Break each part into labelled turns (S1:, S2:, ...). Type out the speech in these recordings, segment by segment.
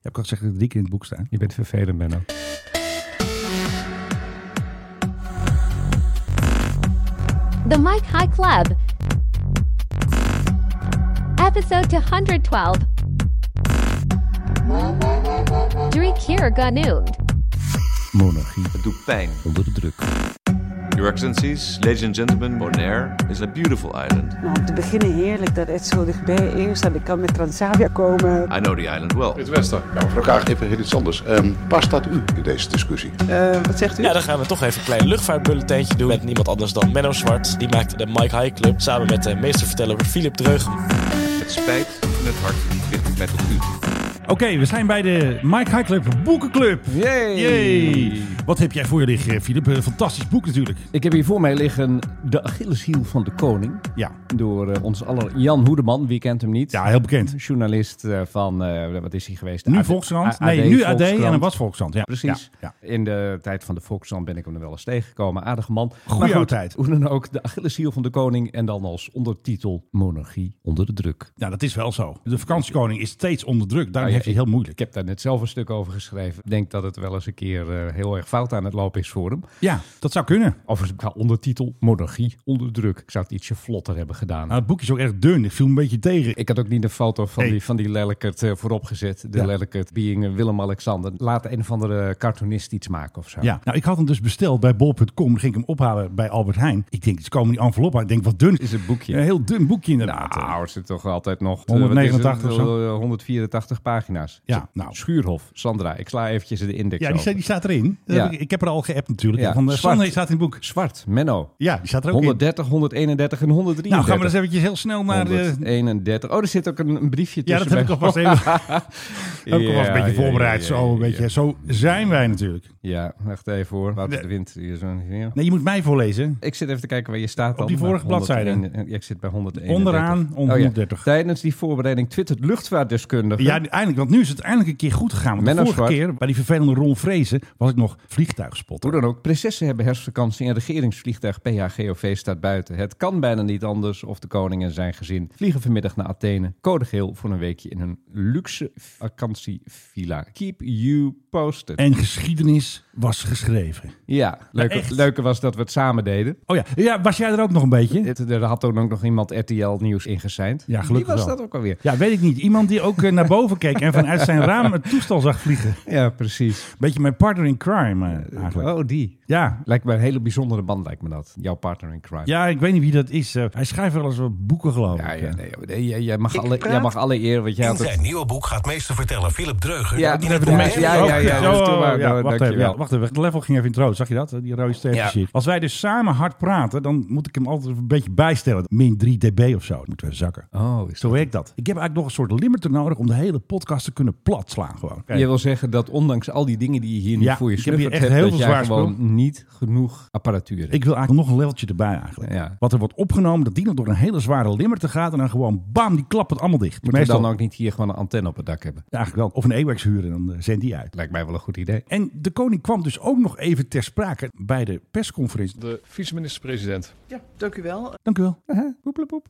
S1: heb ik al gezegd dat het drie keer in het boek staan.
S2: Je bent vervelend, Benno.
S3: The Mike High Club. Episode 212. Drie keer genoemd.
S1: Monarchie
S4: Het doet pijn.
S1: onder de druk.
S4: Your Excellencies, ladies and gentlemen, Bonaire is a beautiful island.
S5: Nou, om te beginnen heerlijk dat het zo dichtbij is en ik kan met Transavia komen.
S4: I know the island well.
S6: Het Wester.
S7: Ja, mevrouw Kaag, even heel iets anders. Ehm, waar staat u in deze discussie?
S5: wat zegt u?
S8: Ja, dan gaan we toch even een klein luchtvaartbulletijntje doen met niemand anders dan Menno Zwart. Die maakte de Mike High Club samen met de meesterverteller Philip Dreugem.
S4: Het spijt en het hart ligt met u.
S1: Oké, we zijn bij de Mike High Club Boekenclub.
S2: Yay!
S1: Yay! Wat heb jij voor je liggen, Filip? Een fantastisch boek natuurlijk.
S2: Ik heb hier voor mij liggen De Achilleshiel van de Koning.
S1: Ja,
S2: Door eh, ons aller Jan Hoedeman, wie kent hem niet?
S1: ja heel bekend.
S2: Journalist eh, van, eh, wat is hij geweest?
S1: Nu
S2: AD
S1: Volkskrant. Nee, nu AD en
S2: Volkskrant.
S1: dan was Volkskrant. Ja,
S2: Precies.
S1: Ja,
S2: In de tijd van de Volkskrant ben ik hem er wel eens tegengekomen. Aardig man.
S1: Goeie
S2: Maar goed,
S1: oude tijd.
S2: Hoe dan ook, de Achilleshiel van de koning. En dan als ondertitel Monarchie onder de druk.
S1: Ja, dat is wel zo. De vakantiekoning is steeds onder druk. Daarom
S2: Ah,
S1: heeft
S2: ja,
S1: hij heel moeilijk.
S2: Ik heb daar net zelf een stuk over geschreven. Ik denk dat het wel eens een keer eh, heel erg fout aan het lopen is voor hem.
S1: Ja, dat zou kunnen.
S2: Overigens, qua ondertitel Monarchie onder druk. Ik zou het ietsje vlotter hebben gedaan.
S1: Nou, het boek is ook erg dun. Ik viel een beetje tegen.
S2: Ik had ook niet een foto van
S1: Nee.
S2: die, van die lellekert eh, voorop gezet. De
S1: Ja.
S2: lellekert being eh, Willem-Alexander. Laat een of andere cartoonist iets maken of zo.
S1: Ja, nou ik had hem dus besteld bij bol.com. Dan ging ik hem ophalen bij Albert Heijn. Ik denk, ze komen die envelop uit. Ik denk, wat dun.
S2: Is een boekje.
S1: Een heel dun boekje inderdaad.
S2: Nou, is het toch altijd nog...
S1: 189
S2: wat is het?
S1: of
S2: 184 pagina's.
S1: Ja, nou.
S2: Schuurhof, Sandra, ik sla eventjes de index
S1: ja, die, sta-
S2: open.
S1: die staat erin. Dat
S2: Ja.
S1: heb Ik, ik heb er al geappt natuurlijk.
S2: Ja,
S1: Van, eh,
S2: zwart.
S1: Sander staat in het boek.
S2: Zwart, Menno.
S1: Ja, die staat er ook in.
S2: 130, 131 en 133.
S1: Nou, gaan we dus eventjes heel snel naar de...
S2: 131. Oh, er zit ook een, een briefje
S1: Ja,
S2: tussen.
S1: dat heb ik
S2: bij-
S1: alvast even... Ook
S2: Ja,
S1: alvast een beetje
S2: ja,
S1: voorbereid.
S2: ja,
S1: zo, een
S2: ja,
S1: beetje. zo zijn wij natuurlijk.
S2: Ja, wacht even hoor. Wouter
S1: Nee.
S2: de Wind. Hier zo. Ja.
S1: Nee, je moet mij voorlezen.
S2: Ik zit even te kijken waar je staat dan.
S1: die vorige
S2: Maar 101
S1: bladzijde.
S2: ja, ik zit bij 131.
S1: Onderaan,
S2: ja.
S1: 130.
S2: Tijdens die voorbereiding twittert luchtvaartdeskundige.
S1: Ja, eindelijk. Want nu is het eindelijk een keer goed gegaan. Want
S2: Menno
S1: de vorige
S2: Zwart.
S1: keer, bij die vervelende Ron Vrezen, was ik nog vliegtuigspotter.
S2: Hoe dan ook, prinsessen hebben herfstvakantie en regeringsvliegtuig PHGOV staat buiten. Het kan bijna niet anders of de koning en zijn gezin vliegen vanmiddag naar Athene. Code geel voor een weekje in een luxe vakantievilla. Keep you posted.
S1: En geschiedenis was geschreven.
S2: ja, leuke,
S1: echt?
S2: leuke was dat we het samen deden.
S1: Oh ja, ja was jij er ook nog een beetje?
S2: Het- Er had toen ook nog iemand RTL nieuws ingeseind.
S1: Ja, gelukkig
S2: Wie was
S1: wel.
S2: dat ook alweer?
S1: Ja, weet ik niet. Iemand die ook eh, naar boven keek en vanuit zijn raam het toestel zag vliegen.
S2: Ja, precies.
S1: Beetje mijn partner in crime eh, eigenlijk.
S2: Oh, die.
S1: Ja.
S2: Lijkt me een hele bijzondere band, lijkt me dat. Jouw partner in crime.
S1: ja, ik weet niet wie dat is. Eh, hij schrijft wel eens wat boeken geloof
S2: Ja,
S1: ik.
S2: ja,
S1: eh.
S2: nee, nee, jij, jij mag alle, jij mag alle eer, want jij
S9: In
S2: had het...
S9: zijn nieuwe boek gaat meester vertellen Philip Dreuger.
S2: Ja,
S9: die
S2: dat
S9: het
S2: hebben
S9: boek-
S2: mensen- ja, ja, ja,
S1: Oh,
S2: dat is toen
S1: oh,
S2: maar,
S1: ja,
S2: nou,
S1: wacht even,
S2: dankjewel.
S1: ja, wacht even. Het level ging even in het rood. Zag je dat? Die rode sterren
S9: Ja.
S1: Als wij dus samen hard praten, dan moet ik hem altijd een beetje bijstellen. Min 3 dB of zo. Dan moeten we zakken.
S2: Oh, is
S1: Zo werkt dat. Ik heb eigenlijk nog een soort limiter nodig om de hele podcast te kunnen platslaan gewoon.
S2: Je wil zeggen dat ondanks al die dingen die je hier nu
S1: Ja,
S2: voor je
S1: ik heb hier
S2: snuffert
S1: echt
S2: hebt,
S1: heel
S2: dat
S1: veel
S2: jij
S1: zwaar
S2: gewoon niet genoeg apparatuur hebt.
S1: Ik wil eigenlijk nog een leveltje erbij eigenlijk.
S2: Ja.
S1: Wat er wordt opgenomen, dat die nog door een hele zware limiter gaat. En dan gewoon bam, die klapt het allemaal dicht.
S2: Moet je dan ook niet hier gewoon een antenne op het dak hebben?
S1: Ja, eigenlijk wel. Of een AWACS huren, dan eh, zendt die uit.
S2: Lijkt mij wel een goed idee.
S1: En de koning kwam dus ook nog even ter sprake bij de persconferentie.
S6: De vice-minister-president.
S5: Ja, dank u wel.
S1: Dank u wel.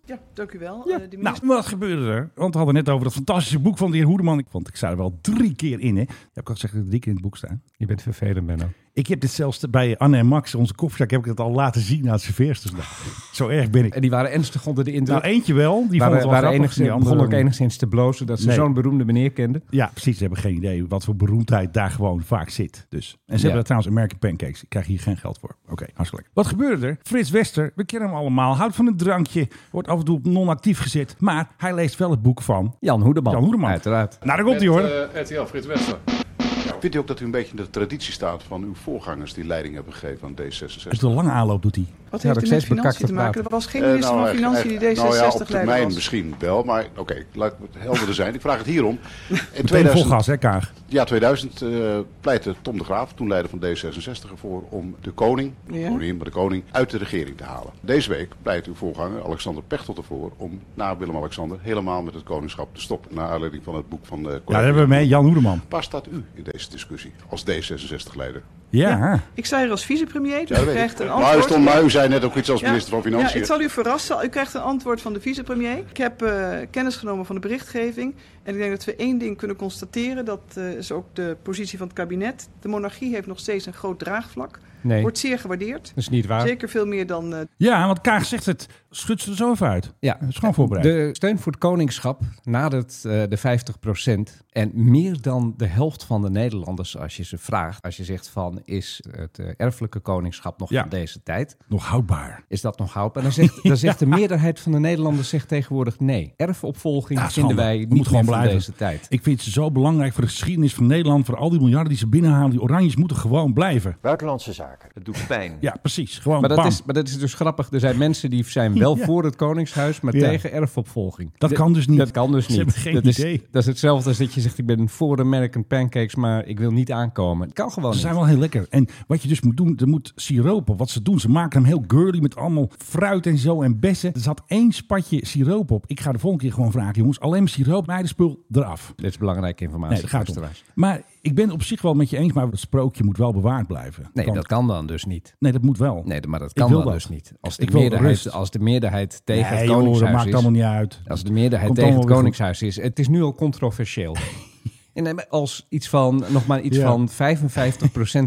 S5: Ja, dank u wel. Eh, de
S1: Nou, wat gebeurde er? Want we hadden net over dat fantastische boek van de heer Hoedeman. Want ik sta er wel drie keer in, hè. Ja, ik had gezegd dat er drie keer in het boek staan.
S2: Je bent vervelend, Benno.
S1: Ik heb dit zelfs bij Anne en Max, onze koffiezak, heb ik het al laten zien aan serveerstersdag. Zo erg ben ik.
S2: En die waren ernstig onder de indruk.
S1: Nou, eentje wel. Die vond het
S2: waren,
S1: wel
S2: waren
S1: grappig,
S2: enigszins,
S1: die andere-
S2: begon ook enigszins te blozen dat ze
S1: Nee.
S2: zo'n beroemde meneer kenden.
S1: Ja, precies. Ze hebben geen idee wat voor beroemdheid daar gewoon vaak zit. Dus. En ze hebben daar trouwens American Pancakes. Ik krijg hier geen geld voor. Oké, hartstikke lekker. Wat gebeurde er? Frits Wester, we kennen hem allemaal. Houdt van een drankje. Wordt af en toe op non-actief gezet. Maar hij leest wel het boek van...
S2: Jan Hoedeman.
S1: Jan Hoedeman.
S2: Uiteraard.
S1: Nou, daar komt hij hoor.
S6: eh, RTL Frits Wester.
S7: Vindt u ook dat u een beetje in de traditie staat van uw voorgangers die leiding hebben gegeven aan D66?
S1: dus de lange aanloop doet hij.
S5: Wat
S2: Ja, dat
S5: heeft
S2: ik
S5: u
S2: steeds
S5: met financiën
S2: bekakter
S5: te maken?
S2: praat.
S5: Er was geen
S7: Eh,
S5: minister van
S7: nou,
S5: Financiën die
S7: eigenlijk- nou ja, op
S5: D66
S7: termijn
S5: leider was.
S7: misschien wel, maar oké, laat ik helderder zijn. Ik vraag het hierom. In
S1: Meteen vol
S7: 2000,
S1: gas, hè Kaag?
S7: ja, 2000 eh, pleitte Tom de Graaf, toen leider van D66, ervoor om de koning,
S5: Ja.
S7: koningin, maar de koning, uit de regering te halen. Deze week pleit uw voorganger Alexander Pechtold ervoor om na Willem-Alexander helemaal met het koningschap te stoppen. Naar aanleiding van het boek van eh
S1: Ja, daar hebben we mee. Jan Hoedeman.
S7: Waar staat u in deze discussie als D66-leider?
S1: Ja.
S10: Ik sta hier als vicepremier, dus
S7: Ja,
S10: u
S7: dat weet
S10: krijgt
S7: ik.
S10: een
S7: Maar u,
S10: antwoord.
S7: stond, maar u zei net ook iets als minister van
S10: ja,
S7: Financiën.
S10: ik zal u verrassen. U krijgt een antwoord van de vicepremier. Ik heb eh, kennis genomen van de berichtgeving. En ik denk dat we één ding kunnen constateren. Dat eh, is ook de positie van het kabinet. De monarchie heeft nog steeds een groot draagvlak.
S2: Nee, dat
S10: Wordt zeer gewaardeerd.
S2: is niet waar.
S10: Zeker veel meer dan eh,
S1: Ja, want Kaag zegt het. Schud ze er zo even uit.
S2: Ja,
S1: Het is gewoon voorbereid.
S2: De steun voor het koningschap nadert eh, de 50%. En meer dan de helft van de Nederlanders, als je ze vraagt, als je zegt van is het eh, erfelijke koningschap nog
S1: Ja.
S2: van deze tijd,
S1: Nog houdbaar.
S2: is dat nog houdbaar? Dan zegt, dan zegt de meerderheid van de Nederlanders zegt tegenwoordig nee. Erfopvolging
S1: Ja,
S2: vinden
S1: schande.
S2: wij
S1: Dat
S2: niet
S1: moet gewoon
S2: meer van
S1: blijven.
S2: deze tijd.
S1: Ik vind ze zo belangrijk voor de geschiedenis van Nederland. Voor al die miljarden die ze binnenhalen. Die oranjes moeten gewoon blijven.
S11: Buitenlandse zaken.
S4: Het doet pijn.
S1: Ja, precies. Gewoon
S2: Maar dat,
S1: Oh, bam.
S2: is, maar dat is dus grappig. Er zijn mensen die zijn wel
S1: Ja.
S2: voor het Koningshuis, maar
S1: Ja.
S2: tegen erfopvolging.
S1: Dat
S2: De-
S1: kan dus niet.
S2: Dat kan dus
S1: Ze
S2: niet.
S1: hebben geen
S2: dat Is,
S1: idee.
S2: dat is hetzelfde als dat je zegt, ik ben voor American Pancakes, maar ik wil niet aankomen. Dat kan gewoon
S1: Ze
S2: niet.
S1: zijn wel heel lekker. En wat je dus moet doen, er moet siropen. Wat ze doen, ze maken hem heel girly met allemaal fruit en zo en bessen. Er zat één spatje siroop op. Ik ga de volgende keer gewoon vragen, jongens. Alleen maar siroop, meidenspul eraf.
S2: Dit is belangrijke informatie.
S1: Nee, dat gaat om.
S2: Nou, luisteraars.
S1: Maar ik ben op zich wel met je eens, maar het sprookje moet wel bewaard blijven.
S2: Nee,
S1: Want-
S2: dat kan dan dus niet.
S1: nee dat moet wel.
S2: Nee, maar dat
S1: Ik
S2: kan
S1: wil
S2: dan
S1: dat.
S2: dus niet. Als de,
S1: Ik wil
S2: meerderheid,
S1: rust.
S2: als de meerderheid tegen
S1: Nee,
S2: het
S1: joh, dat
S2: Koningshuis
S1: maakt allemaal
S2: is.
S1: niet uit.
S2: Als de meerderheid
S1: Komt
S2: tegen het
S1: allemaal weer goed.
S2: Koningshuis is. Het is nu al controversieel. En nee, maar als iets van, nog maar iets
S1: Ja.
S2: van 55%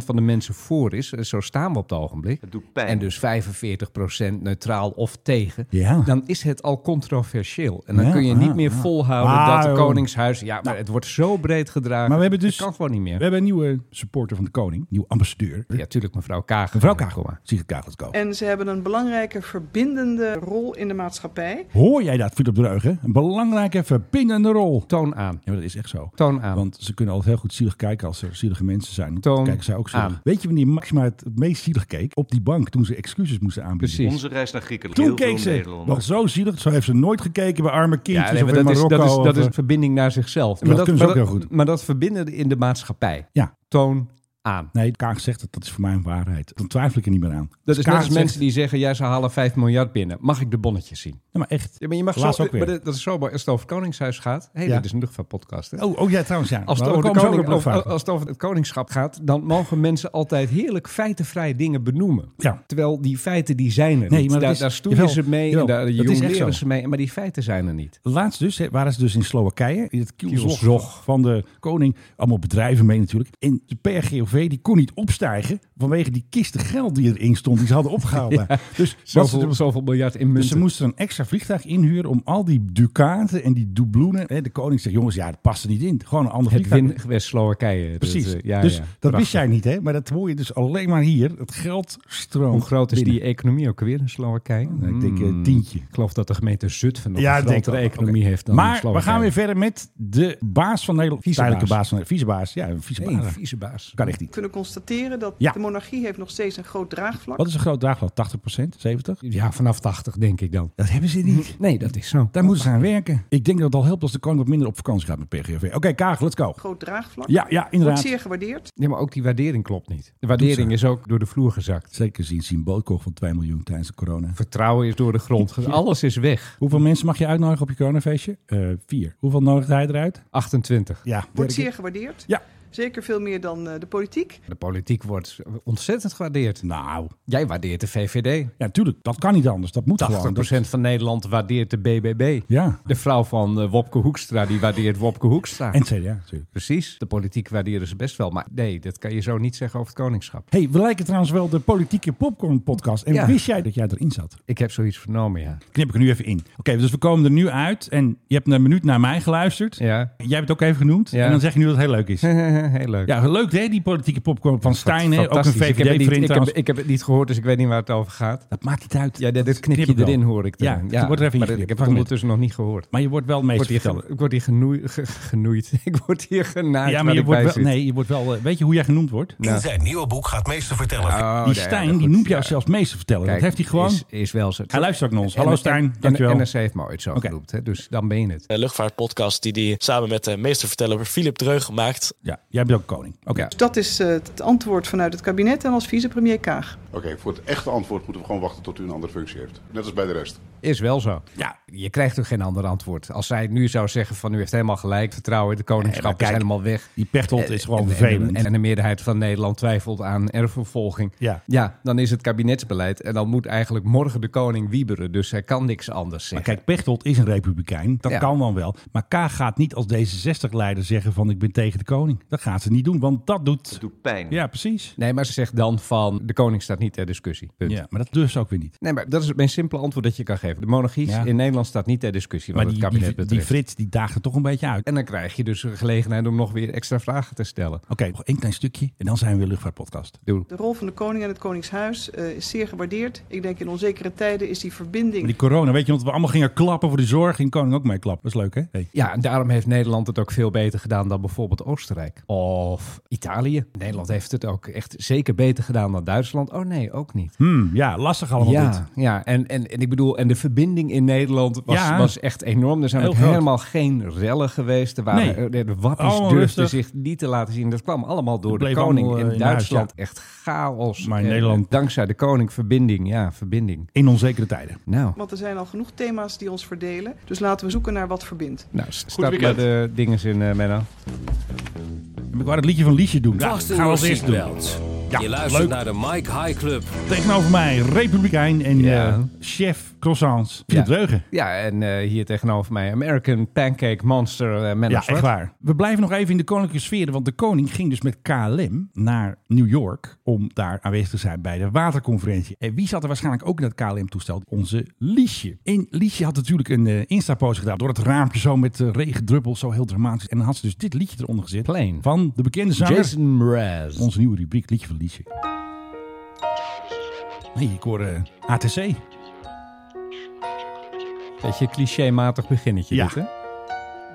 S2: van de mensen voor is, eh, zo staan we op het ogenblik.
S4: Het doet pijn.
S2: En dus 45% neutraal of tegen.
S1: Ja.
S2: Dan is het al controversieel. En dan
S1: Ja,
S2: kun je niet
S1: ja,
S2: meer
S1: ja.
S2: volhouden
S1: Ah,
S2: dat het
S1: joh.
S2: Koningshuis... Ja, maar het wordt zo breed gedragen.
S1: Maar we hebben dus-
S2: Het kan gewoon niet meer.
S1: We hebben een nieuwe supporter van de koning, nieuwe ambassadeur.
S2: Ja, tuurlijk, mevrouw Kaag.
S1: Mevrouw
S2: Kom
S1: Kagel,
S2: maar.
S1: Sigrid Kagelsko.
S10: En ze hebben een belangrijke verbindende rol in de maatschappij.
S1: Hoor jij dat, Philip Dreugen? Een belangrijke verbindende rol.
S2: Toon aan.
S1: Ja, maar dat is echt zo.
S2: Toon aan.
S1: Want ze kunnen altijd heel goed zielig kijken als er zielige mensen zijn. Dan
S2: Toon
S1: kijken zij ook zielig.
S2: aan.
S1: Weet je wanneer Maxima het meest zielig keek? Op die bank toen ze excuses moesten aanbieden.
S2: Precies.
S4: Onze reis naar Griekenland.
S1: Toen
S4: Heel
S1: keek
S4: veel
S1: ze
S4: Nederlanders.
S1: nog zo zielig. Zo heeft ze nooit gekeken bij arme kindjes
S2: nee,
S1: of
S2: maar
S1: in
S2: dat, is,
S1: Marokko.
S2: dat, is, dat
S1: of,
S2: is
S1: eh,
S2: verbinding naar zichzelf.
S1: dat kunnen ze ook heel goed.
S2: Maar dat verbinden in de maatschappij.
S1: Ja.
S2: Toon aan.
S1: Nee, Kaag zegt het. Dat is voor mij een waarheid. Dan twijfel ik er niet meer aan.
S2: Dat is
S1: Kaag
S2: net als
S1: zegt-
S2: mensen die zeggen, ja, ze halen 5 miljard binnen. Mag ik de bonnetjes zien?
S1: Ja, maar echt.
S2: Ja, maar je mag
S1: Laatst
S2: zo,
S1: ook weer.
S2: maar dat dat is zo mooi. Als het over het Koningshuis gaat... Hé,
S1: Ja.
S2: dit is een luchtvaartpodcast, hè?
S1: Oh, oh ja, trouwens ja.
S2: Als het,
S1: Maar we
S2: over de
S1: komen zo
S2: koning-
S1: weer op
S2: over-
S1: vragen.
S2: als het over het koningschap gaat, dan mogen mensen altijd heerlijk feitenvrij dingen benoemen.
S1: Ja.
S2: Terwijl die feiten die zijn er
S1: Nee,
S2: niet.
S1: maar dat
S2: daar,
S1: is-
S2: daar stoeien
S1: jawel,
S2: ze mee
S1: jawel,
S2: en daar
S1: dat is echt
S2: jongleren
S1: zo.
S2: ze mee. Maar die feiten zijn er niet.
S1: Laatst dus, hè, waren ze dus in Slowakije, in het kielzog,
S2: Kielzog.
S1: van de koning. Allemaal bedrijven mee natuurlijk. En de PRGOV die kon niet opstijgen vanwege die kisten geld die erin stond, die ze hadden opgehaald. daar. dus, wat ze,
S2: Zoveel, zoveel miljard in
S1: dus
S2: munten.
S1: ze moesten een extra vliegtuig inhuren om al die ducaten en die doubloenen. Hè, de koning zegt, jongens, ja, dat past er niet in. Gewoon een ander
S2: Het
S1: vliegtuig.
S2: windgewest Slowakije.
S1: Precies.
S2: Dat, eh, ja,
S1: dus
S2: ja.
S1: dat
S2: Prachtig.
S1: wist jij niet, hè? Maar dat hoor je dus alleen maar hier. Het geld stroomt.
S2: Hoe groot is
S1: binnen.
S2: die economie ook weer in Slowakije?
S1: Nou, ik denk eh,
S2: Hmm.
S1: tientje.
S2: Ik geloof dat de gemeente Zutphen nog
S1: Ja,
S2: een
S1: ik denk
S2: grotere
S1: wel.
S2: economie heeft dan
S1: Maar we
S2: Slowakije.
S1: gaan weer verder met de baas van Nederland.
S2: Vicebaas.
S1: Tijdelijke baas van Nederland. Vicebaas. Ja, een vicebaas.
S2: Nee, een vieze baas.
S1: kan echt niet.
S10: We kunnen constateren dat
S1: Ja.
S10: de monarchie heeft nog steeds een groot draagvlak.
S1: Wat is een groot draagvlak? 80%? 70%?
S2: Ja, vanaf 80 denk ik dan.
S1: Dat hebben ze niet.
S2: Nee, dat is zo.
S1: Daar moeten ze aan werken. Mhm. Ik denk dat het al helpt als de koning wat minder op vakantie gaat met PGV. Oké, Kaag, let's go.
S10: groot draagvlak.
S1: Ja, ja,
S10: Wordt
S1: inderdaad.
S10: zeer gewaardeerd.
S2: Ja, maar ook die waardering klopt niet. De waardering is ook door de vloer gezakt.
S1: Zeker zien zien bootkocht van 2 miljoen tijdens de corona.
S2: Vertrouwen is door de grond. ge- Alles is weg.
S1: Hoeveel mensen mag je uitnodigen op je coronafeestje? Eh vier. Hoeveel nodigt hij eruit?
S2: 28.
S1: Ja,
S10: Wordt zeer gewaardeerd.
S1: Ja.
S10: Zeker veel meer dan eh, de politiek.
S2: De politiek wordt ontzettend gewaardeerd.
S1: Nou,
S2: Jij waardeert de VVD. 80%
S1: ja, natuurlijk. Dat kan niet anders. Dat moet gewoon. Dat-
S2: van Nederland waardeert de BBB.
S1: Ja.
S2: De vrouw van eh, Wopke Hoekstra, die waardeert Wopke Hoekstra.
S1: En CDA natuurlijk.
S2: Precies. De politiek waarderen ze best wel. Maar nee, dat kan je zo niet zeggen over het koningschap.
S1: hey, we lijken trouwens wel de politieke popcorn podcast. En
S2: Ja.
S1: wist jij dat jij erin zat?
S2: Ik heb zoiets vernomen, ja.
S1: Knip ik er nu even in. Oké, dus we komen er nu uit. En je hebt een minuut naar mij geluisterd.
S2: Ja.
S1: Jij hebt het ook even genoemd.
S2: Ja.
S1: En dan zeg je nu dat het heel leuk is.
S2: Heel leuk.
S1: Ja, leuk hè, die politieke popcorn van Stijn. hè? Ook een
S2: Fantastisch. Ik heb, het niet,
S1: VVD-vriend
S2: ik, heb,
S1: trouwens.
S2: ik heb het niet gehoord, dus ik weet niet waar het over gaat.
S1: Dat maakt niet uit.
S2: Ja, dit, dit knip
S1: knip ik
S2: je
S1: wel.
S2: erin, hoor ik.
S1: Ja,
S2: eraan.
S1: het wordt er even
S2: maar
S1: ingeknipt.
S2: ik heb
S1: Wacht
S2: het
S1: een
S2: ondertuven nog niet gehoord.
S1: Maar je wordt wel
S2: Ik
S1: meest
S2: word hier,
S1: vertellen.
S2: ge- ik word hier genoei- ge- genoeid. Ik word hier genaaid.
S1: Ja, maar je
S2: ik
S1: wordt
S2: bij
S1: wel,
S2: zit.
S1: nee, je wordt wel... eh, Weet je hoe jij genoemd wordt?
S9: In zijn nieuwe boek gaat meester vertellen.
S2: Oh,
S1: die
S2: nee,
S1: Stijn,
S2: ja,
S1: die
S2: goed,
S1: noemt jou
S2: ja.
S1: zelfs meester vertellen.
S2: Kijk,
S1: dat heeft hij gewoon...
S2: Is, is wel zo.
S1: Hij luistert ook naar ons.
S2: En-
S1: Hallo
S2: en-
S1: Stijn,
S2: en-
S1: dankjewel.
S2: NRC heeft me ooit zo
S1: Oké.
S2: genoemd, hè, dus dan ben je het.
S8: De luchtvaartpodcast die hij samen met de meesterverteller eh, Philip Dreug maakt.
S1: Ja. Jij bent ook koning. Oké.
S2: Ja.
S10: Dus dat is eh, het antwoord vanuit het kabinet en als vicepremier Kaag.
S7: Oké, voor het echte antwoord moeten we gewoon wachten tot u een andere functie heeft. Net als bij de rest.
S2: Is wel zo. Ja, je krijgt toch geen ander antwoord. Als zij nu zou zeggen van u heeft helemaal gelijk, vertrouwen in de koningschap
S1: Nee, maar
S2: is
S1: kijk,
S2: helemaal weg. Eh,
S1: Die pechtold is gewoon
S2: En- en-
S1: vervelend.
S2: En, de meerderheid van Nederland twijfelt aan erfvervolging.
S1: Ja.
S2: ja, dan is het kabinetsbeleid en dan moet eigenlijk morgen de koning wieberen. Dus hij kan niks anders
S1: maar
S2: zeggen.
S1: kijk, Pechtold is een republikein. Dat
S2: Ja.
S1: kan dan wel. Maar K gaat niet als D66-leider zeggen van ik ben tegen de koning. Dat gaat ze niet doen, want dat doet...
S4: Doet pijn.
S1: Ja, precies.
S2: Nee, maar ze zegt dan van de koning staat niet ter discussie. Punt.
S1: Ja, maar dat dus ook weer niet.
S2: Nee, maar dat is het meest simpele antwoord dat je kan geven. De monarchie
S1: Ja.
S2: in Nederland staat niet ter discussie wat
S1: Maar die,
S2: het kabinet
S1: die, die
S2: betreft.
S1: Frits die daagt er toch een beetje uit.
S2: en dan krijg je dus een gelegenheid om nog weer extra vragen te stellen.
S1: Oké, nog één klein stukje en dan zijn we weer luchtvaartpodcast.
S2: Doe.
S10: De rol van de koning en het koningshuis eh, is zeer gewaardeerd. Ik denk in onzekere tijden is die verbinding
S1: Maar die corona, weet je, want we allemaal gingen klappen voor de zorg. Ging koning ook mee klappen. Dat is leuk, hè? Hey.
S2: Ja, en daarom heeft Nederland het ook veel beter gedaan dan bijvoorbeeld Oostenrijk. Of Italië. Nederland heeft het ook echt zeker beter gedaan dan Duitsland. Oh nee, ook niet.
S1: Hmm, ja, lastig allemaal dit.
S2: Ja, ja en, en, en ik bedoel, en de verbinding in Nederland was,
S1: Ja.
S2: was echt enorm. Er zijn
S1: Heel
S2: ook
S1: groot.
S2: helemaal geen rellen geweest. Er waren,
S1: Nee.
S2: er- de wappies
S1: Allemaal
S2: durfden
S1: rustig.
S2: zich niet te laten zien. Dat kwam allemaal door
S1: Het
S2: de
S1: bleef
S2: koning.
S1: allemaal, eh,
S2: In
S1: in huis,
S2: Duitsland echt chaos.
S1: Maar in
S2: En eh,
S1: Nederland-
S2: Dankzij de koning, verbinding. Ja, verbinding.
S1: In onzekere tijden.
S2: Nou,
S10: Want er zijn al genoeg thema's die ons verdelen. Dus laten we zoeken naar wat verbindt.
S2: nou start maar
S7: weekend.
S2: de dingen in, eh Menno.
S1: Ik wou het liedje van Liesje doen. Ja,
S9: Vaste
S1: gaan we als eerste doen. Ja,
S9: je luistert
S1: leuk.
S9: naar de Mike High Club.
S1: Tegenover mij, republikein en
S2: Ja.
S1: eh, chef croissants. Philip
S2: Ja.
S1: Dreugen.
S2: Ja, en eh, hier tegenover mij American Pancake Monster eh Menno
S1: Ja,
S2: Zwart.
S1: echt waar. We blijven nog even in de koninklijke sfeer. Want de koning ging dus met KLM naar New York. om daar aanwezig te zijn bij de waterconferentie. En wie zat er waarschijnlijk ook in dat KLM-toestel? Onze Liesje. En Liesje had natuurlijk een eh Insta-post gedaan. door het raampje zo met eh, regendruppels. zo heel dramatisch. En dan had ze dus dit liedje eronder gezet.
S2: Plain.
S1: Van de bekende zanger.
S2: Jason Mraz.
S1: Onze nieuwe rubriek, liedje van Liesje. Nee, ik hoor eh, ATC.
S2: Beetje clichématig beginnetje
S1: Ja.
S2: dit, hè?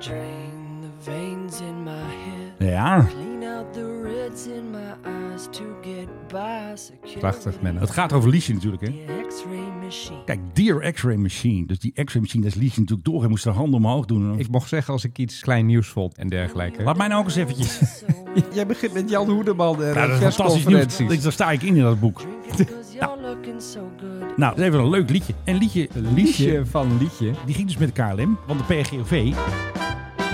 S5: Drain the veins in my head.
S1: Ja,
S5: Clean out the reds in my eyes to get by. Security.
S2: Prachtig, Menno.
S1: het gaat over Liesje natuurlijk, hè?
S5: The X-ray machine.
S1: Kijk, Dear X-Ray Machine. Dus die X-Ray Machine, dat is Liesje natuurlijk door. Hij moest haar handen omhoog doen. En dan-
S2: Ik mocht zeggen als ik iets klein nieuws vond en dergelijke.
S1: Laat mij nou ook eens eventjes.
S2: Jij begint met Jan Hoedeman eh, en
S1: Ja, dat is fantastisch nieuws. Dat- Daar sta ik in in dat boek.
S5: Y'all looking so good.
S1: Nou, dat is even een leuk liedje. En liedje, Liesje,
S2: Liedje van liedje.
S1: die ging dus met de KLM. Want de PGOV,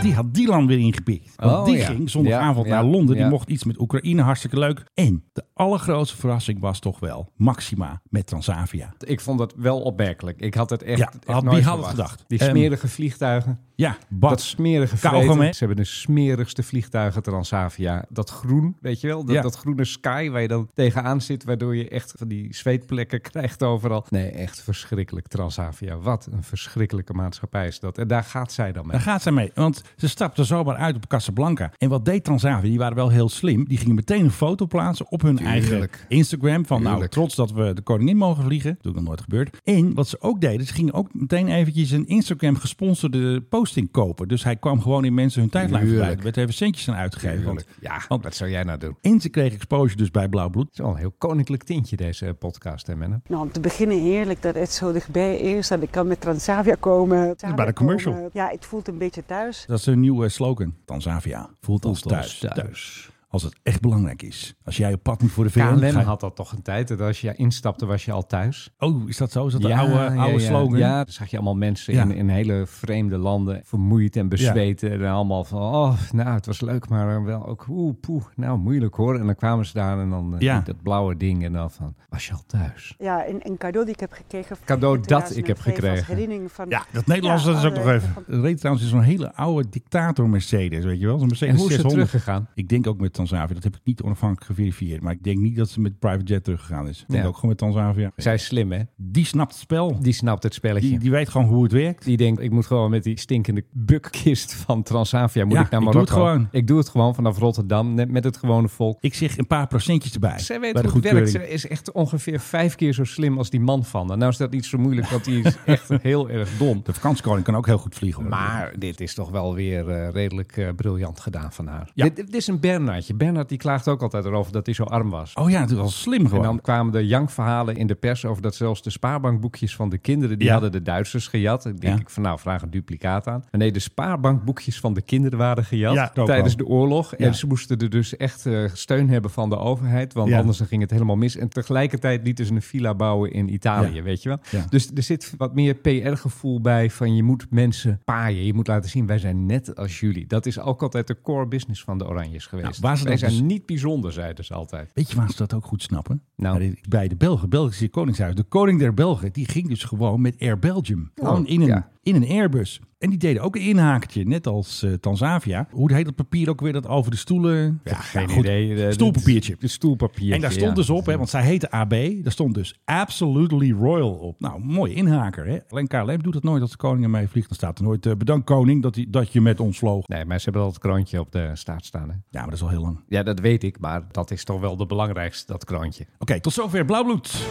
S1: die had Dylan weer ingepikt. Want
S2: Oh,
S1: die
S2: ja.
S1: ging zondagavond
S2: Ja, ja,
S1: naar Londen. Die
S2: ja.
S1: mocht iets met Oekraïne, hartstikke leuk. En de allergrootste verrassing was toch wel Maxima met Transavia.
S2: Ik vond dat wel opmerkelijk. Ik had het echt,
S1: Ja,
S2: echt
S1: had- wie
S2: nooit
S1: had het
S2: verwacht.
S1: gedacht?
S2: Die
S1: Ehm,
S2: smerige vliegtuigen.
S1: Ja, Bas.
S2: Dat smerige
S1: Kauwgom, hè?
S2: vreten. Ze hebben de smerigste vliegtuigen Transavia. Dat groen, weet je wel? Dat,
S1: Ja.
S2: dat groene sky waar je dan tegenaan zit, waardoor je echt van die zweetplekken krijgt overal. Nee, echt verschrikkelijk Transavia. Wat een verschrikkelijke maatschappij is dat. En daar gaat zij dan mee.
S1: Daar gaat zij mee. Want ze stapte zomaar uit op Casablanca. En wat deed Transavia? Die waren wel heel slim. Die gingen meteen een foto plaatsen op hun eigen
S2: Tuurlijk.
S1: Instagram. Van nou,
S2: Tuurlijk.
S1: trots dat we de koningin mogen vliegen. Dat is ook nog nooit gebeurd. En wat ze ook deden, ze gingen ook meteen eventjes een Instagram gesponsorde posting kopen. Dus hij kwam gewoon in mensen hun tijdlijn
S2: Tuurlijk.
S1: voorbij. Er werd even centjes aan uitgegeven. Want,
S2: ja,
S1: want-
S2: wat zou jij nou doen?
S1: en ze kregen exposure dus bij Blauw Bloed.
S2: Het is wel een heel koninklijk tintje deze eh, podcast, hè Menno?
S5: Nou, om te beginnen heerlijk dat het zo dichtbij is en ik kan met Transavia komen.
S1: bij de commercial.
S5: Komen. Ja, het voelt een beetje thuis.
S1: Dat is hun nieuwe slogan. Transavia voelt ons
S2: Voelt ons
S1: thuis. thuis. Als het echt belangrijk is. Als jij op pad moet voor de VN.
S2: KLM
S1: ga je-
S2: E had dat toch een tijd. Dat als je instapte, was je al thuis.
S1: Oh, is dat zo? Is dat de oude, oude
S2: ja, ja.
S1: slogan?
S2: Ja, dan zag je allemaal mensen
S1: Ja.
S2: in, in hele vreemde landen, vermoeid en bezweten. En allemaal van, oh, nou, het was leuk, maar eh, wel ook, oeh, poeh, nou, moeilijk hoor. En dan kwamen ze daar en dan eh,
S1: Ja.
S2: dat blauwe ding en dan van, was je al thuis?
S5: Ja, en een cadeau die ik heb gekregen. van
S2: Cadeau dat
S5: 2005
S2: ik heb gekregen.
S5: Als herinnering van
S1: Ja, dat Nederlands
S5: Ja, eh,
S1: dat is ook nog
S5: alle-
S1: even. Er reed trouwens zo'n hele oude dictator Mercedes, weet je wel? Zo'n Mercedes
S2: en hoe is het
S1: 600.
S2: teruggegaan?
S1: Ik denk ook met Tanzavia. Dat heb ik niet onafhankelijk geverifieerd. Maar ik denk niet dat ze met private jet teruggegaan is. Ik denk
S2: Ja.
S1: ook gewoon met Tanzavia.
S2: Zij is slim, hè?
S1: Die snapt het spel.
S2: Die snapt het spelletje.
S1: Die,
S2: Die,
S1: die weet gewoon hoe het werkt.
S2: denkt, ik moet gewoon met die stinkende bukkist van Transavia, moet
S1: Ja,
S2: ik naar
S1: ik doe
S2: Marokko.
S1: het gewoon.
S2: Ik doe het gewoon vanaf Rotterdam, net met het gewone volk.
S1: Ik zeg een paar procentjes erbij.
S2: Zij
S1: bij
S2: weet
S1: de
S2: hoe het werkt.
S1: goedkeuring.
S2: Ze is echt ongeveer vijf keer zo slim als die man van. haar. Nou is dat niet zo moeilijk, want die is echt heel erg dom.
S1: De vakantiekoning kan ook heel goed vliegen. hoor.
S2: Maar dit is toch wel weer eh, redelijk eh, briljant gedaan van haar.
S1: Ja.
S2: Dit, dit is een Bernardje Sintje Bernhard die klaagt ook altijd erover dat hij zo arm was.
S1: Oh ja, dat was slim
S2: En
S1: gewoon.
S2: dan kwamen de jankverhalen in de pers over dat zelfs de spaarbankboekjes van de kinderen, die
S1: Ja.
S2: hadden de Duitsers gejat. Dan denk
S1: Ja.
S2: ik van nou, vraag een duplicaat aan. Maar nee, de spaarbankboekjes van de kinderen waren gejat
S1: Ja, ook
S2: tijdens
S1: wel.
S2: de oorlog.
S1: Ja.
S2: En ze moesten er dus echt eh, steun hebben van de overheid, want
S1: Ja.
S2: anders dan ging het helemaal mis. En tegelijkertijd lieten ze een villa bouwen in Italië,
S1: Ja.
S2: weet je wel.
S1: Ja.
S2: Dus er zit wat meer PR-gevoel bij van je moet mensen paaien. Je moet laten zien, wij zijn net als jullie. Dat is ook altijd de core business van de Oranjes geweest.
S1: waar ze
S2: wij
S1: dat
S2: zijn
S1: dus-
S2: niet bijzonder, zeiden ze altijd.
S1: Weet je waar ze dat ook goed snappen?
S2: Nou.
S1: Bij de- Bij de Belgen, Belgische koningshuis. De koning der Belgen, die ging dus gewoon met Air Belgium. Gewoon in een,
S2: Oh, ja.
S1: in een Airbus. En die deden ook een inhakertje, net als eh, Tanzavia. Hoe heet dat papier ook weer, dat over de stoelen? Ja, nou
S2: geen
S1: goed.
S2: idee. Eh,
S1: Stoelpapiertje.
S2: Het stoelpapier.
S1: En daar stond dus op, hè, want zij heette AB, daar stond dus Absolutely Royal op. Nou, mooi inhaker. Hè? Alleen KLM doet dat nooit als de koning ermee vliegt. Dan staat er nooit, eh, bedankt koning dat, hij- dat je met ons vloog.
S2: Nee, maar ze hebben al het kroontje op de staart staan. Hè?
S1: Ja, maar dat is al heel lang.
S2: Ja, dat weet ik, maar dat is toch wel de belangrijkste, dat kroontje.
S1: Oké, tot zover Blauwbloed.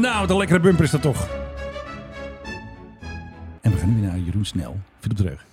S1: Nou, wat een lekkere bumper is dat toch. En we gaan nu weer naar Jeroen Snel. Philip Dreug.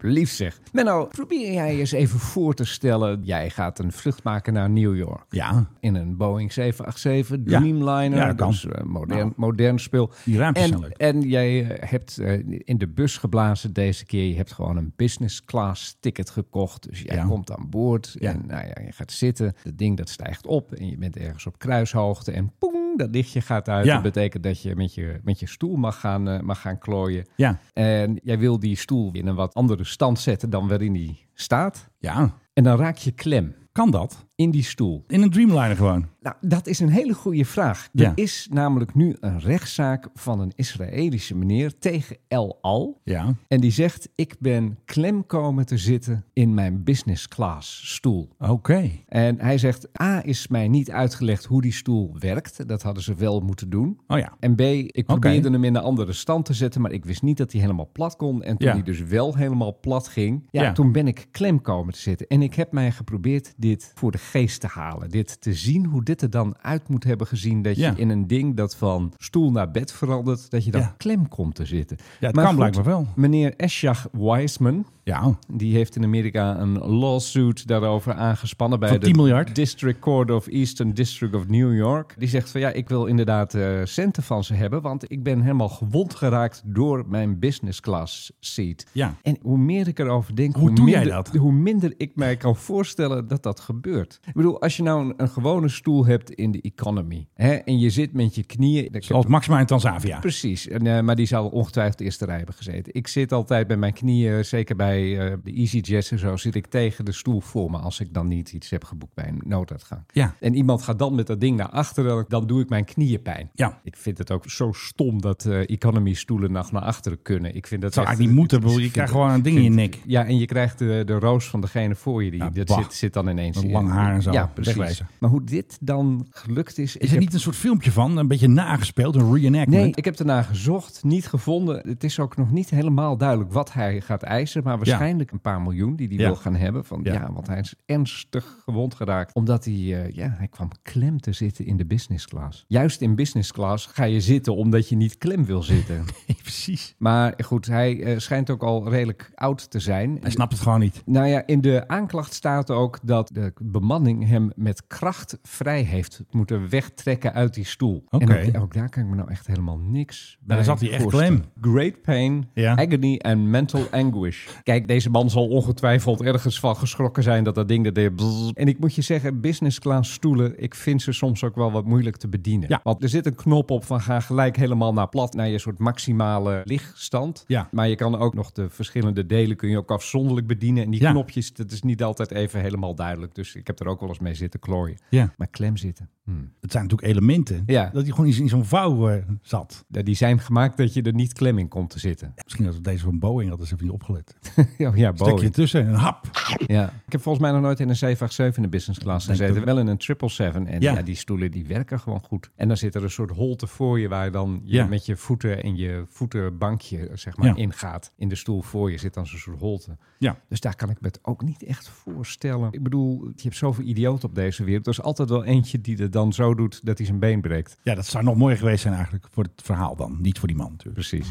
S2: Lief zeg. Menno, probeer jij eens even voor te stellen. Jij gaat een vlucht maken naar New York.
S1: Ja,
S2: In een Boeing 787,
S1: Ja.
S2: Dreamliner.
S1: Ja, dat kan.
S2: dus, eh, modern,
S1: Nou.
S2: modern spul.
S1: Die raampjes
S2: en,
S1: zijn leuk.
S2: En jij eh, hebt eh, in de bus geblazen deze keer. Je hebt gewoon een business class ticket gekocht. Dus jij
S1: Ja.
S2: komt aan boord.
S1: Ja.
S2: En nou ja, je gaat zitten. Het ding dat stijgt op. En je bent ergens op kruishoogte. En poeng, dat lichtje gaat uit.
S1: Ja.
S2: Dat betekent dat je met je, met je stoel mag gaan, eh, mag gaan klooien.
S1: ja,
S2: En jij wil die stoel in een wat andere stand zetten dan waarin die staat.
S1: ja.
S2: En dan raak je klem
S1: Kan dat?
S2: in die stoel.
S1: In een Dreamliner gewoon.
S2: Nou, dat is een hele goede vraag.
S1: Ja.
S2: Er is namelijk nu een rechtszaak van een Israëlische meneer tegen El Al.
S1: Ja.
S2: En die zegt, ik ben klem komen te zitten in mijn business class stoel.
S1: Oké.
S2: En hij zegt, A is mij niet uitgelegd hoe die stoel werkt. Dat hadden ze wel moeten doen.
S1: Oh ja.
S2: En B, ik
S1: Oké.
S2: probeerde hem in een andere stand te zetten, maar ik wist niet dat hij helemaal plat kon. En toen
S1: Ja.
S2: hij dus wel helemaal plat ging, ja,
S1: Ja.
S2: toen ben ik klem komen te zitten. En ik heb mij geprobeerd dit voor de geest te halen. Dit te zien, hoe dit er dan uit moet hebben gezien. Dat
S1: Ja.
S2: je in een ding dat van stoel naar bed verandert, dat je dan
S1: Ja.
S2: klem komt te zitten.
S1: Ja, het kan blijkbaar wel.
S2: Meneer Eschach Wiseman,
S1: Ja.
S2: die heeft in Amerika een lawsuit daarover aangespannen bij
S1: Van 10
S2: de
S1: miljard?
S2: District Court of Eastern District of New York. Die zegt van ja, ik wil inderdaad eh, centen van ze hebben, want ik ben helemaal gewond geraakt door mijn business class seat.
S1: Ja.
S2: En hoe meer ik erover denk,
S1: Hoe doe jij
S2: minder,
S1: dat?
S2: hoe minder ik mij kan voorstellen dat dat gebeurt. Ik bedoel, als je nou een, een gewone stoel hebt in de economy hè, en je zit met je knieën. Ik heb
S1: Zoals Maxima in Tanzavia.
S2: Precies, en, eh, maar die zal ongetwijfeld de eerste rij hebben gezeten. Ik zit altijd bij mijn knieën, zeker bij eh, de EasyJet en zo, zit ik tegen de stoel voor me als ik dan niet iets heb geboekt bij een nooduitgang.
S1: Ja.
S2: En iemand gaat dan met dat ding naar achteren, dan doe ik mijn knieën pijn.
S1: Ja.
S2: Ik vind het ook zo stom dat eh, economy stoelen nog naar achteren kunnen. Ik vind dat
S1: Zou
S2: echt-
S1: eigenlijk niet moeten,
S2: het is-
S1: bedoel, je krijgt
S2: vind-
S1: gewoon een ding in je nek.
S2: Ja, en je krijgt de, de roos van degene voor je. Die,
S1: Ja,
S2: dat
S1: bah.
S2: zit, zit dan ineens.
S1: Met lang haar en zo.
S2: Ja, precies.
S1: Wegwezen.
S2: Maar hoe dit dan gelukt is... ik
S1: Is er
S2: heb-
S1: niet een soort filmpje van, een beetje nagespeeld, een reenactment?
S2: Nee, ik heb daarna gezocht, niet gevonden. Het is ook nog niet helemaal duidelijk wat hij gaat eisen. Maar waarschijnlijk een paar miljoen die hij
S1: Ja.
S2: wil gaan hebben. Van, ja.
S1: Ja.
S2: want hij is ernstig gewond geraakt. Omdat hij, eh, ja, hij kwam klem te zitten in de business class. Juist in business class ga je zitten omdat je niet klem wil zitten.
S1: precies.
S2: maar goed, hij eh, schijnt ook al redelijk oud te zijn.
S1: Hij snapt het gewoon niet.
S2: Nou ja, in de aanklacht staat ook dat de bemanning hem met kracht vrij heeft moeten wegtrekken uit die stoel.
S1: Oké.
S2: En ook, ook daar kan ik me nou echt helemaal niks bij
S1: daar zat hij echt
S2: voorstellen. Great pain,
S1: Ja.
S2: agony en mental anguish. Kijk, deze man zal ongetwijfeld ergens van geschrokken zijn dat dat ding dat deed. bzzz. En ik moet je zeggen, business class stoelen, ik vind ze soms ook wel wat moeilijk te bedienen.
S1: Ja.
S2: Want er zit een knop op van ga gelijk helemaal naar plat, naar je soort maximale lichtstand.
S1: Ja.
S2: Maar je kan ook nog de verschillende delen kun je ook afzonderlijk bedienen. En die
S1: Ja.
S2: knopjes, dat is niet altijd even helemaal duidelijk. Dus ik heb er ook wel eens mee zitten klooien.
S1: Ja.
S2: Maar klem zitten. Hmm.
S1: Het zijn natuurlijk elementen.
S2: Ja.
S1: Dat hij gewoon in zo'n vouw eh, zat.
S2: Ja, Die zijn gemaakt dat je er niet klem in komt te zitten. Oh
S1: Misschien dat het deze van Boeing hadden ze even niet opgelet.
S2: Ja, ja
S1: Stekje
S2: Boeing.
S1: ertussen, een hap.
S2: Ja. Ik heb volgens mij nog nooit in een 787 in de business class
S1: Denk
S2: gezeten.
S1: ik
S2: Wel in een 777. En ja.
S1: Ja.
S2: die stoelen die werken gewoon goed. En dan zit er een soort holte voor je waar je dan je
S1: Ja.
S2: met je voeten en je voetenbankje zeg maar
S1: Ja.
S2: ingaat. In de stoel voor je zit dan zo'n soort holte.
S1: Ja.
S2: Dus daar kan ik me het ook niet echt voorstellen. Ik bedoel, je hebt zoveel idioten op deze wereld. Er is altijd wel eentje die er dan zo doet dat hij zijn been breekt.
S1: ja, dat zou nog mooier geweest zijn eigenlijk voor het verhaal dan. Niet voor die man natuurlijk.
S2: Precies.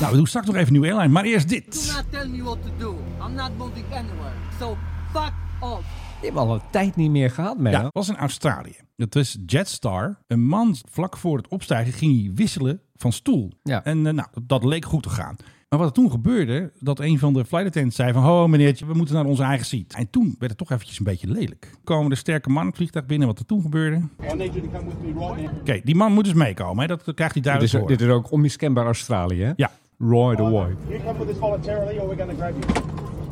S1: Nou, we doen straks nog even een nieuwe airline, maar eerst dit.
S5: tell me what to do. I'm not moving anywhere. So fuck op.
S2: Die hebben al een tijd niet meer gehad, man.
S1: Ja, was in Australië. Dat is Jetstar. Een man vlak voor het opstijgen ging hij wisselen van stoel.
S2: Ja.
S1: En eh, nou, dat leek goed te gaan. Maar wat er toen gebeurde, dat een van de flight attendants zei van... Oh meneertje, we moeten naar onze eigen seat. En toen werd het toch eventjes een beetje lelijk. Komen de sterke man het vliegtuig binnen, wat er toen gebeurde. Oké, die man moet dus meekomen. Hè? Dat krijgt hij
S2: dit, is,
S1: duidelijk voor.
S2: dit is ook onmiskenbaar Australië, hè?
S1: Ja.
S2: Roy the Roy.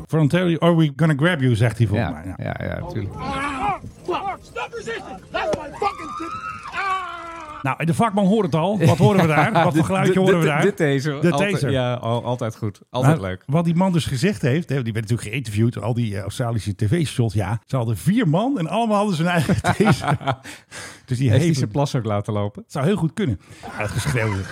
S1: Voluntarily, or we gonna grab you, zegt hij volgens
S2: Ja,
S1: mij. Ja.
S2: ja, ja, natuurlijk.
S1: Nou, en de vakman hoort het al. Wat horen we daar? Wat voor geluidje
S2: Dit-
S1: horen we
S2: dit-
S1: daar?
S2: Dit deze.
S1: De
S2: Altijd-
S1: taser.
S2: Ja, al- altijd goed. Altijd
S1: Nou,
S2: leuk.
S1: Wat die man dus gezegd heeft, hè, die werd natuurlijk geïnterviewd, al die eh, Australische tv-shots, ja. Ze hadden vier man en allemaal hadden ze hun eigen taser. dus die
S2: Heeft hij
S1: heeft
S2: zijn
S1: het
S2: plas ook laten lopen?
S1: zou heel goed kunnen. Ja, dat geschreeuw. is-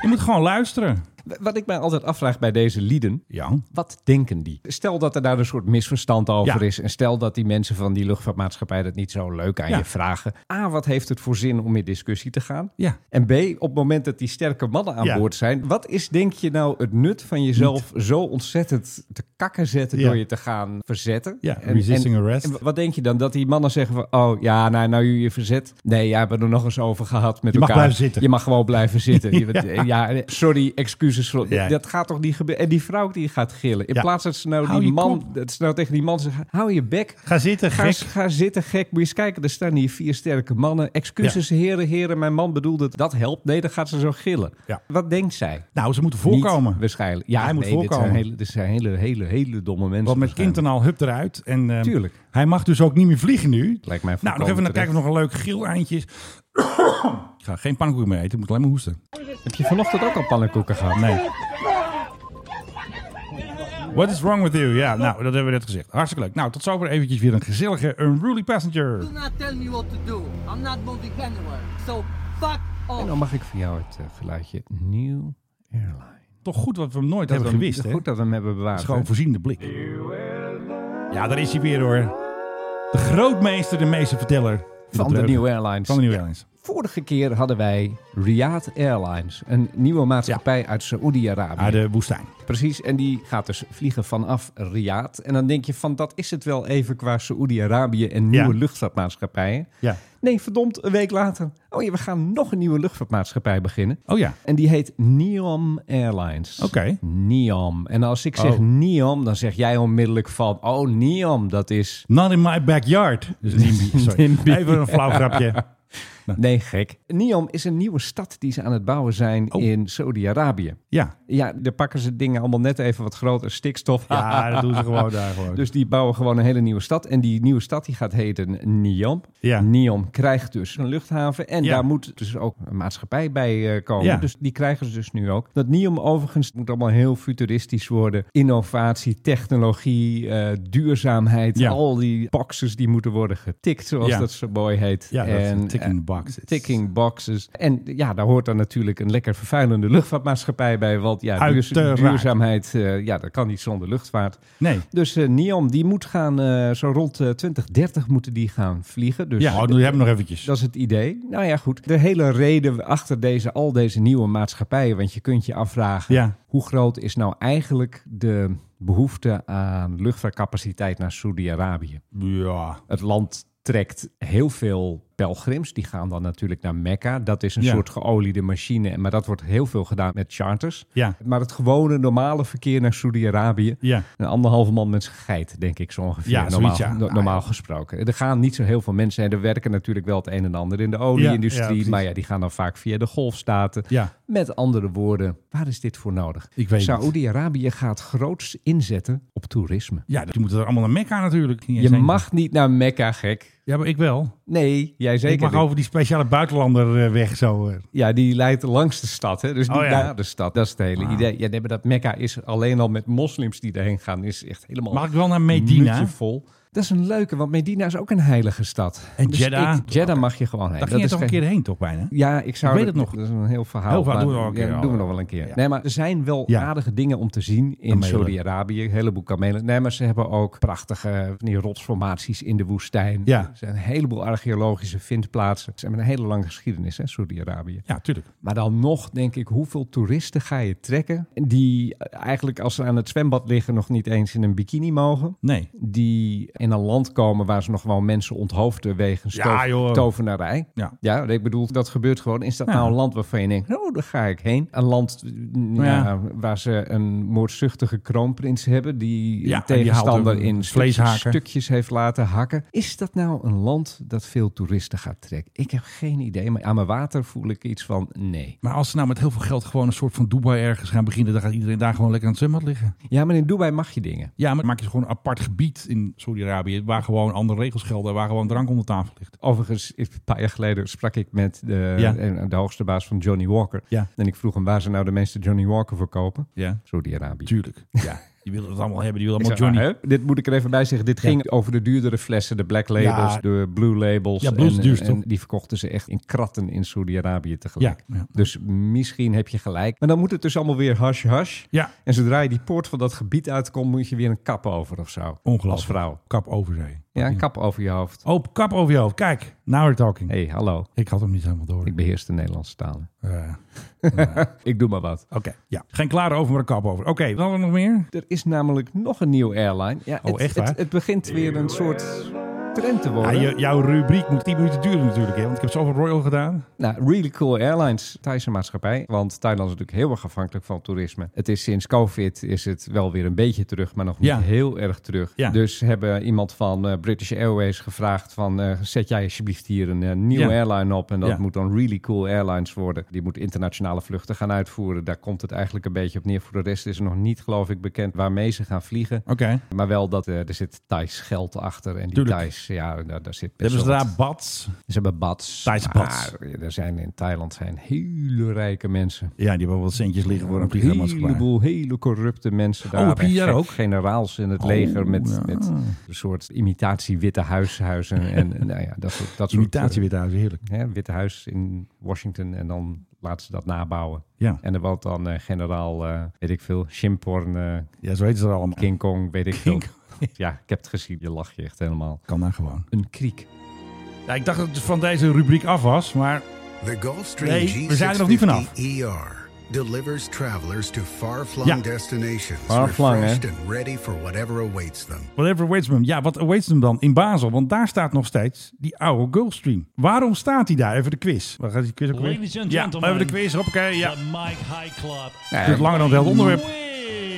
S1: Je moet gewoon luisteren.
S2: Wat ik mij altijd afvraag bij deze lieden,
S1: Ja.
S2: Wat denken die? Stel dat er daar een soort misverstand over
S1: Ja.
S2: is. En stel dat die mensen van die luchtvaartmaatschappij dat niet zo leuk aan
S1: Ja.
S2: je vragen. A, wat heeft het voor zin om in discussie te gaan?
S1: Ja.
S2: En B, op het moment dat die sterke mannen aan
S1: Ja.
S2: boord zijn. Wat is denk je nou het nut van jezelf zo ontzettend te kakken zetten
S1: Ja.
S2: door je te gaan verzetten?
S1: Ja, resisting arrest.
S2: en wat denk je dan? Dat die mannen zeggen van, oh ja, nou, nou je je verzet. Nee, ja, we hebben er nog eens over gehad met
S1: Je mag
S2: elkaar.
S1: blijven zitten.
S2: Je mag gewoon blijven zitten. Je- eh, ja. sorry, excuses. voor-
S1: Ja.
S2: Dat gaat toch niet gebeuren? En die vrouw die gaat gillen. In
S1: Ja.
S2: plaats dat ze nou,
S1: Hou
S2: die
S1: je
S2: man,
S1: kop.
S2: dat ze nou tegen die man zegt, hou je bek.
S1: Ga zitten,
S2: Ga,
S1: gek.
S2: ga zitten, gek. Moet je eens kijken, er staan hier vier sterke mannen. Excuses, heren, heren. Mijn man bedoelde het. Dat helpt. Nee, dan gaat ze zo gillen.
S1: Ja.
S2: Wat denkt zij?
S1: Nou, ze moeten voorkomen.
S2: Niet, waarschijnlijk. Ja,
S1: Hij moet
S2: nee, dit
S1: voorkomen.
S2: zijn hele- Dit zijn hele, hele, hele domme mensen.
S1: Want met kind
S2: waarschijnlijk.
S1: en al, hup eruit. En, ehm,
S2: Tuurlijk.
S1: Hij mag dus ook niet meer vliegen nu.
S2: Lijkt mij
S1: Nou, nog
S2: volkomen
S1: even naar
S2: terecht.
S1: kijken of nog een leuk geel eindje is. Ik ga geen pannenkoeken meer eten, ik moet alleen maar hoesten.
S2: Heb je vanochtend ook al pannenkoeken gehad?
S1: Nee. What is wrong with you? Ja, nou, dat hebben we net gezegd. Hartstikke leuk. Nou, tot zover eventjes weer een gezellige Unruly Passenger.
S5: not tell me what to do. I'm not moving anywhere. So fuck off.
S2: En dan mag ik van jou het eh, geluidje New Airline.
S1: Toch goed wat we hem nooit
S2: Dat
S1: hebben
S2: we hem-
S1: gewist, hè?
S2: Goed dat we hem hebben bewaard.
S1: Dat is gewoon
S2: hè?
S1: voorziende blik. Ja, daar is hij weer hoor. De grootmeester, de meesterverteller.
S2: van de New Airlines.
S1: Van de New Airlines.
S2: Vorige keer hadden wij Riyadh Airlines, een nieuwe maatschappij uit Saoedi-Arabië.
S1: Uit de woestijn.
S2: Precies, en die gaat dus vliegen vanaf Riyadh. En dan denk je van, dat is het wel even qua Saoedi-Arabië en nieuwe
S1: Ja.
S2: luchtvaartmaatschappijen.
S1: Ja.
S2: Nee, verdomd, een week later. Oh ja, we gaan nog een nieuwe luchtvaartmaatschappij beginnen.
S1: Oh ja.
S2: En die heet NEOM Airlines.
S1: Oké.
S2: NEOM. En als ik zeg
S1: Oh.
S2: NEOM, dan zeg jij onmiddellijk van... Oh, NEOM, dat is...
S1: Not in my backyard. Dus NIMBY, sorry.
S2: NIMBY.
S1: Even een flauw grapje.
S2: Nee, gek. NEOM is een nieuwe stad die ze aan het bouwen zijn
S1: Oh.
S2: in Saudi-Arabië.
S1: Ja.
S2: Ja, daar pakken ze dingen allemaal net even wat groter. Stikstof.
S1: Ja, dat doen ze gewoon daar gewoon.
S2: Dus die bouwen gewoon een hele nieuwe stad. En die nieuwe stad die gaat heten NEOM.
S1: Ja.
S2: NEOM krijgt dus een luchthaven. En
S1: Ja.
S2: daar moet dus ook een maatschappij bij eh, komen.
S1: Ja.
S2: Dus die krijgen ze dus nu ook. Dat NEOM overigens moet allemaal heel futuristisch worden. Innovatie, technologie, eh, duurzaamheid.
S1: Ja.
S2: Al die boxes die moeten worden getikt, zoals
S1: Ja.
S2: dat zo mooi heet.
S1: ja, dat is
S2: En,
S1: een
S2: eh,
S1: ticking box.
S2: Ticking boxes. En ja, daar hoort dan natuurlijk een lekker vervuilende luchtvaartmaatschappij bij. Want ja, duurz-
S1: Uiteraard.
S2: duurzaamheid, eh, ja, dat kan niet zonder luchtvaart.
S1: Nee.
S2: Dus eh NEOM, die moet gaan, eh, zo rond eh, 2030 moeten die gaan vliegen. Dus
S1: Ja, oh, nu hebben we nog eventjes.
S2: dat is het idee. Nou ja, goed. De hele reden achter deze, al deze nieuwe maatschappijen, want je kunt je afvragen,
S1: Ja.
S2: hoe groot is nou eigenlijk de behoefte aan luchtvaartcapaciteit naar Saudi-Arabië?
S1: Ja.
S2: Het land trekt heel veel pelgrims. Die gaan dan natuurlijk naar Mekka. Dat is een
S1: Ja.
S2: soort geoliede machine. Maar dat wordt heel veel gedaan met charters.
S1: Ja.
S2: Maar het gewone, normale verkeer naar Saudi-Arabië...
S1: Ja.
S2: Een anderhalve man met zijn geit, denk ik zo ongeveer.
S1: Ja,
S2: normaal,
S1: zoiets, ja.
S2: no-
S1: Ah,
S2: normaal
S1: ja.
S2: gesproken. Er gaan niet zo heel veel mensen en er werken natuurlijk wel het een en ander in de
S1: Ja, ja,
S2: olieindustrie.
S1: precies.
S2: maar ja, die gaan dan vaak via de golfstaten.
S1: Ja.
S2: Met andere woorden, waar is dit voor nodig?
S1: Ik weet niet.
S2: Saoedi-Arabië gaat groots inzetten op toerisme.
S1: Ja, die moeten er allemaal naar Mekka natuurlijk. Niet
S2: Je
S1: eens heen.
S2: mag niet naar Mekka, gek.
S1: Ja, maar ik wel.
S2: Nee, jij zeker
S1: ik mag
S2: niet.
S1: over die speciale buitenlander eh, weg zo. eh.
S2: Ja, die leidt langs de stad, hè? dus niet
S1: Oh, ja. Ah.
S2: naar de stad. Dat is het hele idee. Ja, nee, maar dat Mekka is alleen al Oh. met moslims die daarheen gaan, is echt helemaal
S1: Mag ik wel naar Medina?
S2: muutjevol. Dat is een leuke, want Medina is ook een heilige stad. Dus
S1: En Jeddah?
S2: ik- Jeddah mag je gewoon heen.
S1: Daar ging je
S2: is
S1: toch een
S2: geen-
S1: keer heen, toch bijna?
S2: Ja, ik zou...
S1: Ik weet het nog.
S2: Dat is een heel verhaal.
S1: Heel verhaal,
S2: maar-
S1: doen we nog een
S2: ja,
S1: keer.
S2: dat doen we nog wel een keer.
S1: Ja.
S2: Nee, maar er zijn wel
S1: Ja.
S2: aardige dingen om te zien in
S1: Kamelen.
S2: Saudi-Arabië. Een heleboel kamelen. Nee, maar ze hebben ook prachtige van die rotsformaties in de woestijn.
S1: Ja.
S2: Er zijn een heleboel archeologische vindplaatsen. Ze hebben een hele lange geschiedenis, hè, Saudi-Arabië.
S1: Ja, tuurlijk.
S2: Maar dan nog, denk ik, hoeveel toeristen ga je trekken... die eigenlijk als ze aan het zwembad liggen... nog niet eens in een bikini mogen...
S1: Nee.
S2: Die in een land komen waar ze nog wel mensen onthoofden wegens
S1: Ja,
S2: tover-
S1: joh.
S2: tovenarij.
S1: Ja.
S2: Ja, ik bedoel, dat gebeurt gewoon. Is dat
S1: Ja.
S2: nou een land waarvan je denkt, oh, daar ga ik heen? Een land nou,
S1: Ja.
S2: waar ze een moordzuchtige kroonprins hebben... die
S1: Ja,
S2: een
S1: en die haalt
S2: tegenstander
S1: hem
S2: in
S1: vleeshaken.
S2: stukjes, stukjes heeft laten hakken. Is dat nou een land dat veel toeristen gaat trekken? Ik heb geen idee, maar aan mijn water voel ik iets van nee.
S1: Maar als ze nou met heel veel geld gewoon een soort van Dubai ergens gaan beginnen, dan gaat iedereen daar gewoon lekker aan het zwembad liggen.
S2: Ja, maar in Dubai mag je dingen.
S1: Ja, maar dan maak je gewoon een apart gebied in Saudi-Arabië waar gewoon andere regels gelden, waar gewoon drank onder tafel ligt.
S2: Overigens, een paar jaar geleden sprak ik met de,
S1: Ja.
S2: en- de hoogste baas van Johnny Walker.
S1: Ja.
S2: En ik vroeg hem waar ze nou de meeste Johnny Walker voor kopen.
S1: Ja,
S2: Saudi-Arabië.
S1: tuurlijk. Ja, die willen het allemaal hebben, die willen
S2: Ik
S1: allemaal
S2: zeg,
S1: Johnny.
S2: ah, hè? dit moet ik er even bij zeggen. Dit
S1: Ja.
S2: ging over de duurdere flessen, de black labels,
S1: Ja.
S2: de blue labels.
S1: Ja, blue is het duurste,
S2: en
S1: toch?
S2: die verkochten ze echt in kratten in Saudi-Arabië
S1: ja,
S2: tegelijk.
S1: ja.
S2: Dus misschien heb je gelijk. Maar dan moet het dus allemaal weer hash hash.
S1: ja,
S2: En zodra je die poort van dat gebied uitkomt, moet je weer een kap over of zo.
S1: Ongelooflijk.
S2: Als vrouw.
S1: kap over zee.
S2: Ja, een kap over je hoofd.
S1: Oh, kap over je hoofd. Kijk, now we're talking.
S2: Hé, hey, hallo.
S1: Ik had hem niet helemaal door.
S2: Ik beheers de Nederlandse talen.
S1: Eh,
S2: Ik doe maar wat.
S1: Oké, ja. Geen klare over, maar een kap over. Oké, wat hadden we nog meer?
S2: Er is namelijk nog een nieuwe airline. Ja,
S1: Oh,
S2: het,
S1: echt waar?
S2: Het, het begint weer een soort trend te
S1: Ja,
S2: worden.
S1: je- jouw rubriek moet 10 minuten duren natuurlijk, hè? want ik heb zoveel Royal gedaan.
S2: Nou, Really Cool Airlines, Thaise maatschappij. Want Thailand is natuurlijk heel erg afhankelijk van toerisme. Het is sinds COVID is het wel weer een beetje terug, maar nog niet
S1: Ja.
S2: heel erg terug.
S1: Ja.
S2: Dus hebben iemand van eh, British Airways gevraagd van... eh, zet jij alsjeblieft hier een eh, nieuwe
S1: Ja.
S2: airline op. En dat
S1: Ja.
S2: moet dan Really Cool Airlines worden. Die moet internationale vluchten gaan uitvoeren. Daar komt het eigenlijk een beetje op neer. Voor de rest is er nog niet, geloof ik, bekend waarmee ze gaan vliegen.
S1: Oké.
S2: Maar wel dat eh, er zit Thais geld achter. En die
S1: Tuurlijk.
S2: Thais, ja, daar, daar zit best
S1: Hebben ze
S2: wel wat-
S1: daar bats?
S2: ze hebben bads.
S1: Thaise bads.
S2: Maar Er zijn in Thailand zijn hele rijke mensen.
S1: Ja, die hebben wel wat centjes liggen voor een
S2: Een
S1: vliegtuigmaatschappij.
S2: heleboel hele corrupte mensen Oh, daar. Oh,
S1: heb je hier
S2: Echt
S1: ook?
S2: Generaals in het leger met,
S1: Oh,
S2: met een soort imitatie Witte Huishuizen. En, en nou ja, dat soort... Dat soort,
S1: Imitatie Witte Huis, heerlijk.
S2: eh, hè, Witte Huis in Washington en dan laten ze dat nabouwen.
S1: Ja.
S2: En er woont dan eh, generaal, eh, weet ik veel, Shimporn, eh,
S1: ja, zo weten ze er allemaal.
S2: King Kong, weet ik
S1: King
S2: veel. Ja, ik heb het gezien. Je lacht je echt helemaal.
S1: Kan daar gewoon.
S2: Een kriek.
S1: Ja, ik dacht dat het van deze rubriek af was, maar
S9: The Gulfstream
S1: Nee, we zijn er nog niet vanaf.
S9: G650 ER delivers travelers to far-flung
S1: Ja.
S9: destinations
S2: Far-flung, hè?
S9: refreshed and ready for whatever awaits them.
S1: whatever awaits them. Ja, wat awaits them dan in Basel? Want daar staat nog steeds die oude Gulfstream. Waarom staat die daar? Even de quiz. Waar gaat die quiz ook weer?
S8: Ladies and
S1: Ja,
S8: gentlemen,
S1: even de quiz. Hoppakee, ja.
S8: Mike High Club.
S1: Het duurt langer dan het hele onderwerp.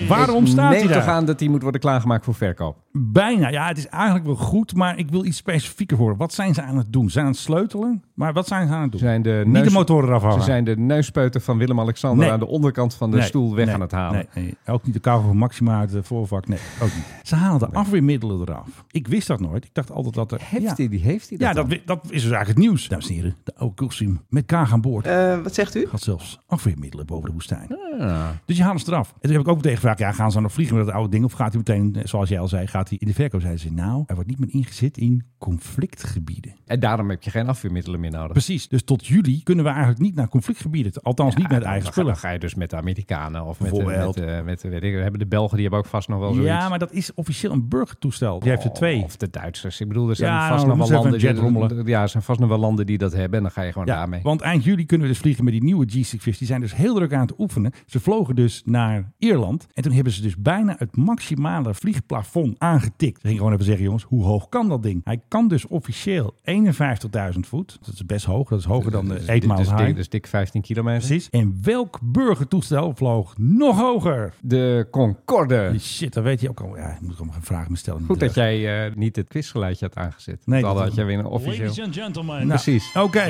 S1: Waarom staat
S2: Neem
S1: hij
S2: toch
S1: daar?
S2: aan dat die moet worden klaargemaakt voor verkoop.
S1: Bijna. Ja, het is eigenlijk wel goed, maar ik wil iets specifieker horen. Wat zijn ze aan het doen? Ze Zijn aan het sleutelen? Maar wat zijn ze aan het doen?
S2: Ze zijn de
S1: Niet
S2: neus-
S1: de motoren eraf halen.
S2: Ze zijn de neuspeuter van Willem-Alexander
S1: Nee.
S2: aan de onderkant van de
S1: Nee,
S2: stoel weg
S1: nee,
S2: aan het halen.
S1: Nee, nee. Ook niet de kou van Maxima uit het voorvak. Nee, ook niet. Ze halen de afweermiddelen eraf. Ik wist dat nooit. Ik dacht altijd dat er...
S2: Heeft
S1: ja.
S2: hij die? Heeft hij dat
S1: Ja, dat,
S2: dan?
S1: wi- dat is dus eigenlijk het nieuws. Dames en heren, de oude Gulfstream met Kaag aan boord.
S10: Eh, wat zegt u?
S1: Had zelfs afweermiddelen boven de woestijn.
S2: Ah.
S1: Dus je haalt ze eraf. En toen heb ik ook meteen gevraagd, ja, gaan ze dan vliegen met dat oude ding? Of gaat hij meteen, eh, zoals jij al zei, gaat hij in de verkoop? Zeiden ze, nou, hij wordt niet meer ingezet in conflictgebieden.
S2: En daarom heb je geen afweermiddelen meer nodig.
S1: Precies. Dus tot juli kunnen we eigenlijk niet naar conflictgebieden. Althans, niet met eigen
S2: Dan ga, dan
S1: spullen.
S2: ga je dus met de Amerikanen of met, de- met,
S1: Bijvoorbeeld.
S2: de- met, de- weet ik, hebben de Belgen, die hebben ook vast nog wel zoiets.
S1: Ja, maar dat is officieel een burgertoestel. Oh, Je heeft er twee.
S2: Of de Duitsers. Ik bedoel, er zijn
S1: Ja,
S2: vast
S1: dan
S2: nog wel
S1: moeten ze
S2: landen.
S1: even een jet
S2: Die,
S1: rommelen.
S2: ja, er zijn vast nog wel landen die dat hebben. En dan ga je gewoon
S1: Ja,
S2: daarmee.
S1: want eind juli kunnen we dus vliegen met die nieuwe G650. Die zijn dus heel druk aan het oefenen. Ze vlogen dus naar Ierland. En toen hebben ze dus bijna het maximale vliegplafond aangetikt. Ze gingen gewoon even zeggen, jongens, hoe hoog kan dat ding? Hij kan dus officieel 51.000 voet. Dat is best hoog. Dat is hoger dan de
S2: Dus dit-
S1: 8 miles
S2: dus dik-
S1: high.
S2: dus dik 15 kilometer.
S1: Precies. En welk burgertoestel vloog nog hoger?
S2: De Concorde.
S1: Die Shit, dat weet je ook al. Ja, ik moet gewoon geen vragen meer stellen.
S2: Goed dat jij eh, niet het quizgeluidje had aangezet.
S1: Nee,
S2: Nee, dat
S1: dat-
S2: had jij weer een officieel.
S8: and gentlemen,
S1: Nou,
S2: Precies.
S1: Oké.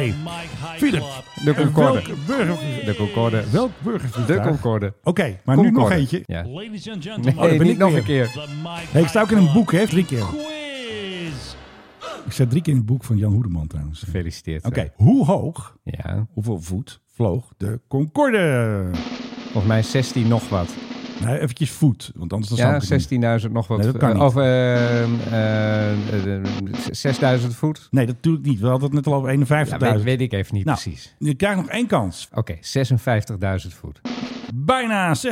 S1: Philip.
S2: De Concorde.
S1: Welk burgervliegtuig?
S2: De Concorde.
S1: Welk burgervliegtuig?
S2: De Concorde.
S1: Oké, maar nu nog eentje.
S2: Ja.
S8: Ladies and
S2: Nee,
S8: gentlemen,
S1: Oh, dat ben
S2: niet
S1: ik
S2: nog
S1: weer.
S2: een keer.
S1: Hey, ik sta ook in een boek, hè? Drie keer.
S8: Quiz.
S1: Ik sta drie keer in het boek van Jan Hoedeman trouwens. Oké,
S2: Gefeliciteerd.
S1: hoe hoog,
S2: Ja,
S1: hoeveel voet vloog de Concorde?
S2: volgens mij 16 nog wat.
S1: Nee, eventjes voet, want anders dan snap
S2: Ja,
S1: ik het niet.
S2: 16.000 nog wat.
S1: Nee, dat kan niet.
S2: Of ehm, ehm, eh, 6.000 voet.
S1: Nee, dat doe ik niet. We hadden het net al over 51.000.
S2: Ja, weet, weet ik even niet
S1: Nou.
S2: precies.
S1: Je krijgt nog één kans.
S2: Oké, 56.000 voet.
S1: Bijna 60.000.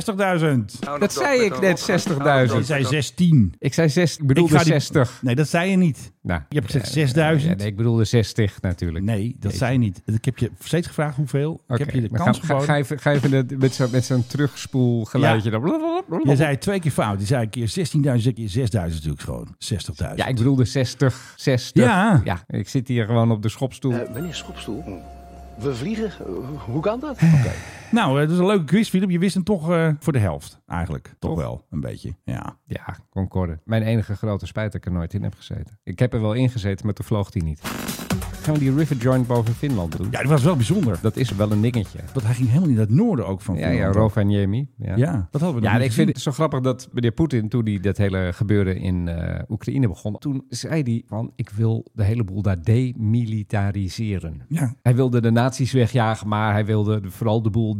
S2: Dat zei ik net, 60.000.
S1: Je zei 16.
S2: Ik zei 6, ik bedoelde
S1: ga die-
S2: 60.
S1: Nee, dat zei je niet.
S2: Nou,
S1: Je hebt gezegd
S2: ja,
S1: 6000.
S2: nee, ik bedoelde 60 natuurlijk.
S1: Nee, dat
S2: Jeetje.
S1: zei je niet. Ik heb je steeds gevraagd hoeveel. Ik
S2: Oké,
S1: heb je de
S2: maar
S1: kans
S2: ga, ga,
S1: geboden.
S2: ga even, ga even de- met zo'n met zo'n terugspoelgeluidje. dan
S1: Je zei het twee keer fout. Je zei een keer 16.000, een keer 6.000 natuurlijk gewoon. 60.000.
S2: Ja, ik bedoelde 60. 60.
S1: Ja.
S2: ik zit hier gewoon op de schopstoel.
S9: Eh, meneer Schopstoel, we vliegen. hoe kan dat?
S1: Nou, eh, dat is een leuke quiz, Philip. Je wist hem toch eh, voor de helft eigenlijk. Toch,
S2: Toch?
S1: wel, een beetje. Ja.
S2: ja, Concorde. Mijn enige grote spijt dat ik er nooit in heb gezeten. Ik heb er wel in gezeten, maar toen vloog die niet. Gaan we die river joint boven Finland doen?
S1: ja, dat was wel bijzonder.
S2: Dat is wel een dingetje.
S1: Want hij ging helemaal in dat noorden ook van
S2: Ja,
S1: Finland.
S2: ja, Rovaniemi.
S1: Ja, dat hadden we nog
S2: Ja,
S1: niet
S2: ik vind
S1: gezien.
S2: het zo grappig dat meneer Poetin, toen hij dat hele gebeuren in eh, Oekraïne begon, toen zei hij van ik wil de hele boel daar demilitariseren.
S1: Ja.
S2: Hij wilde de nazi's wegjagen, maar hij wilde de- vooral de boel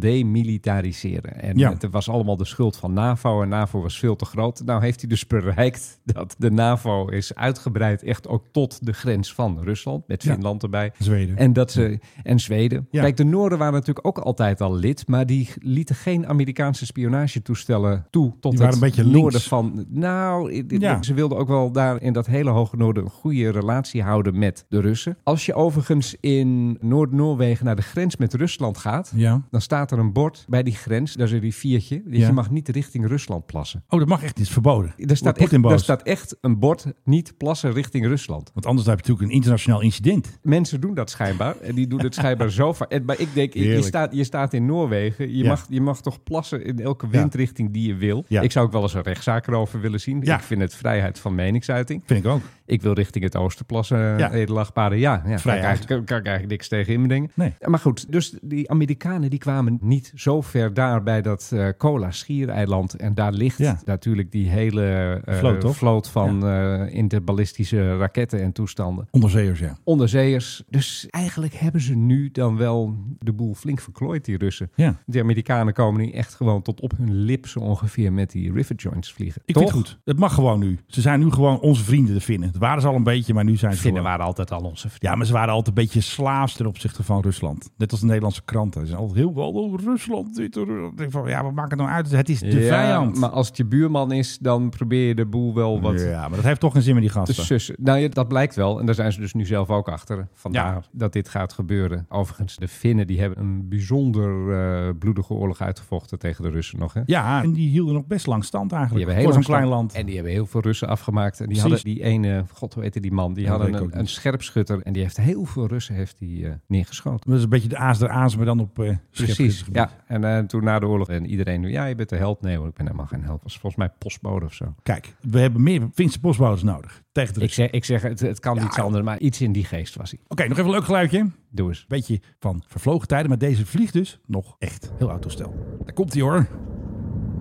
S2: demilitariseren. En
S1: Ja.
S2: het was allemaal de schuld van NAVO en NAVO was veel te groot. Nou heeft hij dus bereikt dat de NAVO is uitgebreid echt ook tot de grens van Rusland, met
S1: Ja.
S2: Finland erbij.
S1: Zweden.
S2: En, dat ze, en Zweden.
S1: Ja.
S2: Kijk, de Noorden waren natuurlijk ook altijd al lid, maar die lieten geen Amerikaanse spionagetoestellen toe tot
S1: Die waren
S2: het
S1: een beetje
S2: noorden
S1: links.
S2: van. Nou, i- i-
S1: Ja.
S2: ze wilden ook wel daar in dat hele hoge noorden een goede relatie houden met de Russen. Als je overigens in Noord-Noorwegen naar de grens met Rusland gaat,
S1: Ja.
S2: dan staat er een bord bij die grens, daar is een riviertje, dat
S1: Ja.
S2: je mag niet richting Rusland plassen.
S1: Oh, dat mag echt niet. Het is verboden.
S2: Er
S1: Wordt
S2: staat, echt,
S1: Poetin boos.
S2: daar staat echt een bord, niet plassen richting Rusland.
S1: Want anders heb je natuurlijk een internationaal incident.
S2: Mensen doen dat schijnbaar. En die doen het schijnbaar zo vaak. En- Maar ik denk, je- je
S1: Heerlijk.
S2: staat, je staat in Noorwegen. Je,
S1: Ja.
S2: mag, je mag toch plassen in elke windrichting die je wil.
S1: Ja.
S2: Ik zou ook wel eens een rechtszaak erover willen zien.
S1: Ja.
S2: Ik vind het vrijheid van meningsuiting.
S1: Vind ik ook.
S2: Ik wil richting het oosten plassen, eh,
S1: Ja.
S2: ja. edelachtbare. Ja, ja kan, ik
S1: Vrijheid.
S2: eigenlijk- kan ik eigenlijk niks tegen inbrengen.
S1: Nee.
S2: Ja, Maar goed, dus die Amerikanen die kwamen niet zo ver daar bij dat eh Cola schiereiland. En daar ligt
S1: Ja.
S2: natuurlijk die hele eh,
S1: Vloot, toch?
S2: vloot van eh, interballistische raketten en toestanden
S1: Onderzeeërs, ja.
S2: onderzeeërs. Dus eigenlijk hebben ze nu dan wel de boel flink verklooid, die Russen.
S1: Ja.
S2: De Amerikanen komen nu echt gewoon tot op hun lip zo ongeveer met die river joints vliegen.
S1: Ik
S2: Toch?
S1: vind het goed. Het mag gewoon nu. Ze zijn nu gewoon onze vrienden, de Finnen. Het waren ze al een beetje, maar nu zijn ze
S2: Vinden
S1: gewoon-
S2: waren altijd al onze vrienden.
S1: Ja, maar ze waren altijd een beetje slaafs ten opzichte van Rusland. Net als de Nederlandse kranten. Ze zijn altijd heel wel oh, Rusland. Dit, Rusland. Ik denk van, ja, wat maakt het nou uit? Het is de
S2: Ja,
S1: vijand.
S2: Maar als het je buurman is, dan probeer je de boel wel wat
S1: Ja, maar dat heeft toch geen zin met die
S2: te
S1: gasten.
S2: sussen. Nou ja, dat blijkt wel. En daar zijn ze dus nu zelf ook achter. Vandaar
S1: Ja.
S2: dat dit gaat gebeuren. Overigens, de Finnen die hebben een bijzonder eh, bloedige oorlog uitgevochten tegen de Russen nog. Hè?
S1: Ja, en die hielden nog best lang stand
S2: Die
S1: eigenlijk.
S2: hebben heel
S1: Voor zo'n
S2: lang
S1: klein
S2: stand-
S1: land.
S2: En die hebben heel veel Russen afgemaakt. En die
S1: Precies.
S2: hadden die ene, god hoe heette die man, die
S1: Ja, dat
S2: hadden
S1: weet ik ook
S2: een, een
S1: niet.
S2: scherpschutter. En die heeft heel veel Russen heeft die, eh, neergeschoten.
S1: Dat is een beetje de aas der aas, maar dan op eh
S2: Precies,
S1: schipgebied.
S2: ja. En eh, toen na de oorlog en iedereen nu, ja, je bent de held. Nee hoor, ik ben helemaal geen held. was volgens mij postbode of zo. Dus-
S1: Kijk, we hebben meer Finse bosbouwers nodig. Tegen de
S2: Ik
S1: Russen.
S2: zeg, ik zeg het, het kan iets anders, maar iets in die geest was hij.
S1: Oké, nog even een leuk geluidje.
S2: Doe eens.
S1: Beetje van vervlogen tijden, maar deze vliegt dus nog echt. Heel oud toestel. Daar komt hij hoor.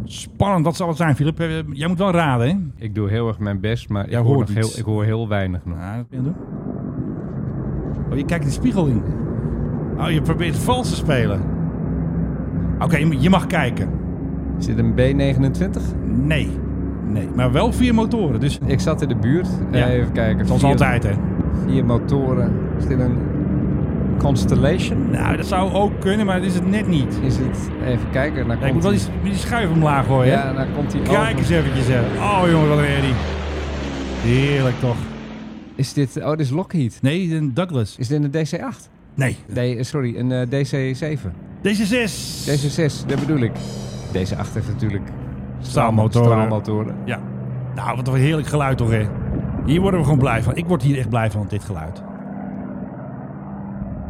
S1: Spannend, wat zal het zijn, Filip? Eh, Jij moet wel raden, hè?
S2: Ik doe heel erg mijn best, maar ik
S1: Jij
S2: hoor,
S1: hoort
S2: nog heel,
S1: iets.
S2: ik hoor heel weinig nog.
S1: Ja, dat ben Nou, je aan het doen. Oh, je kijkt de spiegel in. Oh, je probeert vals te spelen. Oké, je- je mag kijken.
S2: Is dit een B29?
S1: Nee. Nee, maar wel vier motoren. Dus
S2: Ik zat in de buurt.
S1: Ja.
S2: Even kijken.
S1: zoals
S2: Vier-
S1: altijd, hè.
S2: Vier motoren. Is dit een Constellation?
S1: Nou, dat zou ook kunnen, maar dat is het net niet.
S2: Is het, even kijken, dan
S1: Ja, ik moet
S2: komt
S1: wel
S2: hij.
S1: die, die schuif omlaag gooien, hè.
S2: Ja, dan komt hij
S1: Kijk eens
S2: over.
S1: eventjes, hè. Oh, jongen, wat een herrie. Heerlijk, toch?
S2: Is dit, oh dit is Lockheed.
S1: Nee, een Douglas.
S2: Is dit een DC-8?
S1: Nee.
S2: Nee, eh, sorry, een eh, DC-7.
S1: Deze 6
S2: DC-6, dat bedoel ik. DC-8 heeft natuurlijk
S1: Staalmotoren.
S2: straalmotoren.
S1: Ja. Nou, wat een heerlijk geluid toch, hè? Hier worden we gewoon blij van. Ik word hier echt blij van, dit geluid.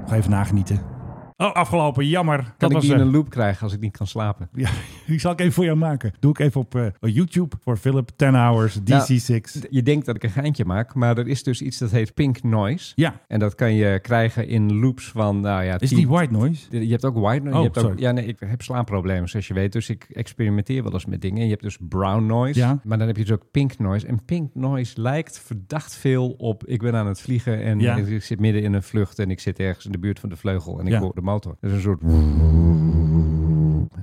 S1: Nog even nagenieten. Oh, afgelopen. Jammer.
S2: Kan ik die in
S1: eh,
S2: een loop krijgen als ik niet kan slapen?
S1: ja, die zal ik even voor jou maken. Doe ik even op eh, YouTube voor Philip 10 Hours DC6.
S2: Nou, D- Je denkt dat ik een geintje maak, maar er is dus iets dat heet pink noise.
S1: ja.
S2: En dat kan je krijgen in loops van, nou ja...
S1: Is
S2: 10
S1: die white noise?
S2: Eh, Je hebt ook white noise.
S1: Oh,
S2: je hebt ook,
S1: sorry.
S2: ja, nee, ik heb slaapproblemen, zoals je weet. Dus ik experimenteer wel eens met dingen. Je hebt dus brown noise,
S1: Ja.
S2: maar dan heb je dus ook pink noise. En pink noise lijkt verdacht veel op... ik ben aan het vliegen en
S1: Ja.
S2: ik, ik zit midden in een vlucht... en ik zit ergens in de buurt van de vleugel en ik
S1: Ja.
S2: hoor de motor. Dat is een soort...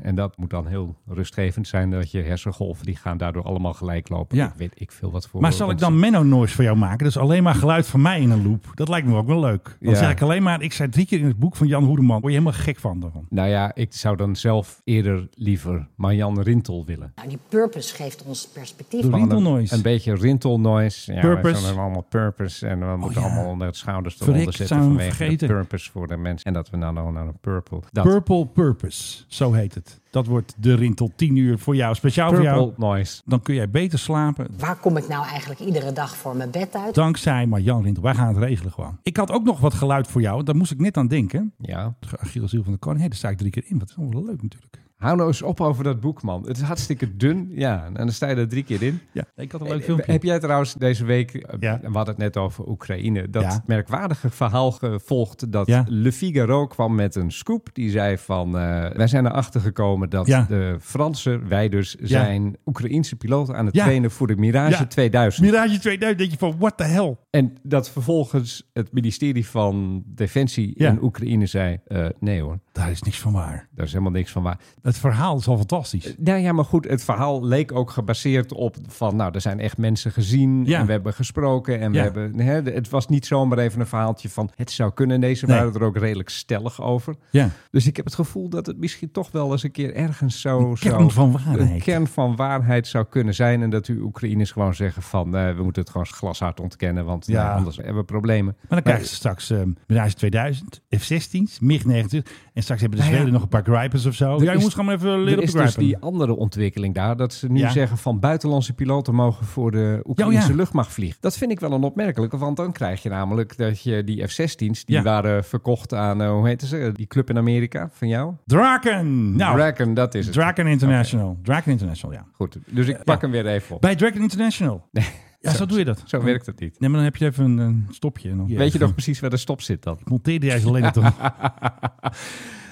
S2: En dat moet dan heel rustgevend zijn dat je hersengolven, die gaan daardoor allemaal gelijk lopen.
S1: Ja.
S2: Ik weet ik veel wat voor...
S1: Maar zal ik dan Menno noise voor jou maken? Dus alleen maar geluid van mij in een loop. Dat lijkt me ook wel leuk. Dan
S2: Ja.
S1: zeg ik alleen maar, ik zei drie keer in het boek van Jan Hoedeman. Word je helemaal gek van daarvan.
S2: Nou ja, ik zou dan zelf eerder liever Marjan Rintel willen.
S5: die purpose geeft ons perspectief.
S1: De Rintel noise.
S2: Een beetje Rintel noise. Ja,
S1: Purpose. Oh
S2: wij zijn allemaal purpose. En we moeten
S1: ja.
S2: allemaal onder het schouders
S1: Verrek,
S2: eronder zetten
S1: zijn we hem
S2: vanwege
S1: vergeten.
S2: de purpose voor de mensen. En dat we nou nou naar een purple. Dat
S1: Purple Purpose, zo heet het. Dat wordt de Rintel 10 uur voor jou, speciaal voor jou.
S2: purple noise.
S1: Dan kun jij beter slapen.
S5: Waar kom ik nou eigenlijk iedere dag voor mijn bed uit?
S1: Dankzij Marjan Rintel. Wij gaan het regelen gewoon. Ik had ook nog wat geluid voor jou. Daar moest ik net aan denken.
S2: Ja.
S1: Achilles Ziel van de Koning. Hé, daar sta ik drie keer in. Wat is allemaal leuk natuurlijk.
S2: Hou nou eens op over dat boek, man. Het is hartstikke dun. Ja, en dan sta je er drie keer in.
S1: Ja, ik had een
S2: Hey,
S1: leuk filmpje.
S2: Heb jij trouwens deze week, eh,
S1: Ja.
S2: we hadden het net over Oekraïne, dat
S1: Ja.
S2: merkwaardige verhaal gevolgd dat
S1: Ja.
S2: Le Figaro kwam met een scoop. Die zei van, eh, wij zijn erachter gekomen dat
S1: Ja.
S2: de Fransen, wij dus, zijn Oekraïense piloten aan het
S1: Ja.
S2: trainen voor de Mirage
S1: Ja.
S2: 2000.
S1: Mirage 2000, denk je van, what the hell?
S2: en dat vervolgens het ministerie van Defensie
S1: Ja.
S2: in Oekraïne zei, eh, nee hoor,
S1: Daar is niks van waar.
S2: daar is helemaal niks van waar.
S1: Het verhaal is al fantastisch.
S2: Nou ja, maar goed, het verhaal leek ook gebaseerd op van, nou, er zijn echt mensen gezien
S1: Ja.
S2: en we hebben gesproken en
S1: Ja.
S2: we hebben, hè, de- het was niet zomaar even een verhaaltje van, het zou kunnen. Deze
S1: Nee.
S2: waren er ook redelijk stellig over.
S1: Ja,
S2: Dus ik heb het gevoel dat het misschien toch wel eens een keer ergens zo...
S1: Een
S2: Oh, zo,
S1: kern van waarheid.
S2: Een kern van waarheid zou kunnen zijn en dat u Oekraïners gewoon zeggen van, eh, we moeten het gewoon glashard ontkennen, want
S1: Ja.
S2: eh, anders hebben we problemen.
S1: maar dan krijgen ze straks eh, Mirage 2000, F-16's, MiG-29. En straks hebben de
S2: Nou ja.
S1: Zweden nog een paar gripers of zo.
S2: Er
S1: Ja, je
S2: is-
S1: Oh, moest gewoon even
S2: Er
S1: leren op
S2: is
S1: te
S2: dus
S1: gripen.
S2: die andere ontwikkeling daar, dat ze nu
S1: Ja.
S2: zeggen van buitenlandse piloten mogen voor de Oekraïnse
S1: Ja, ja.
S2: luchtmacht vliegen. Dat vind ik wel een opmerkelijke, want dan krijg je namelijk dat je die F-16's, die
S1: Ja.
S2: waren verkocht aan, eh, hoe heet ze, die club in Amerika van jou?
S1: Draken! Nou,
S2: Draken, dat is het.
S1: Draken International. Draken International, ja.
S2: Goed, dus ik pak hem weer even op.
S1: Bij Dragon International. ja, zo, doe je dat.
S2: Zo werkt het niet.
S1: Nee, maar dan heb je even een, een stopje. En dan
S2: Weet je nog precies waar de stop zit dan?
S1: Monteerde jij ze alleen het toch?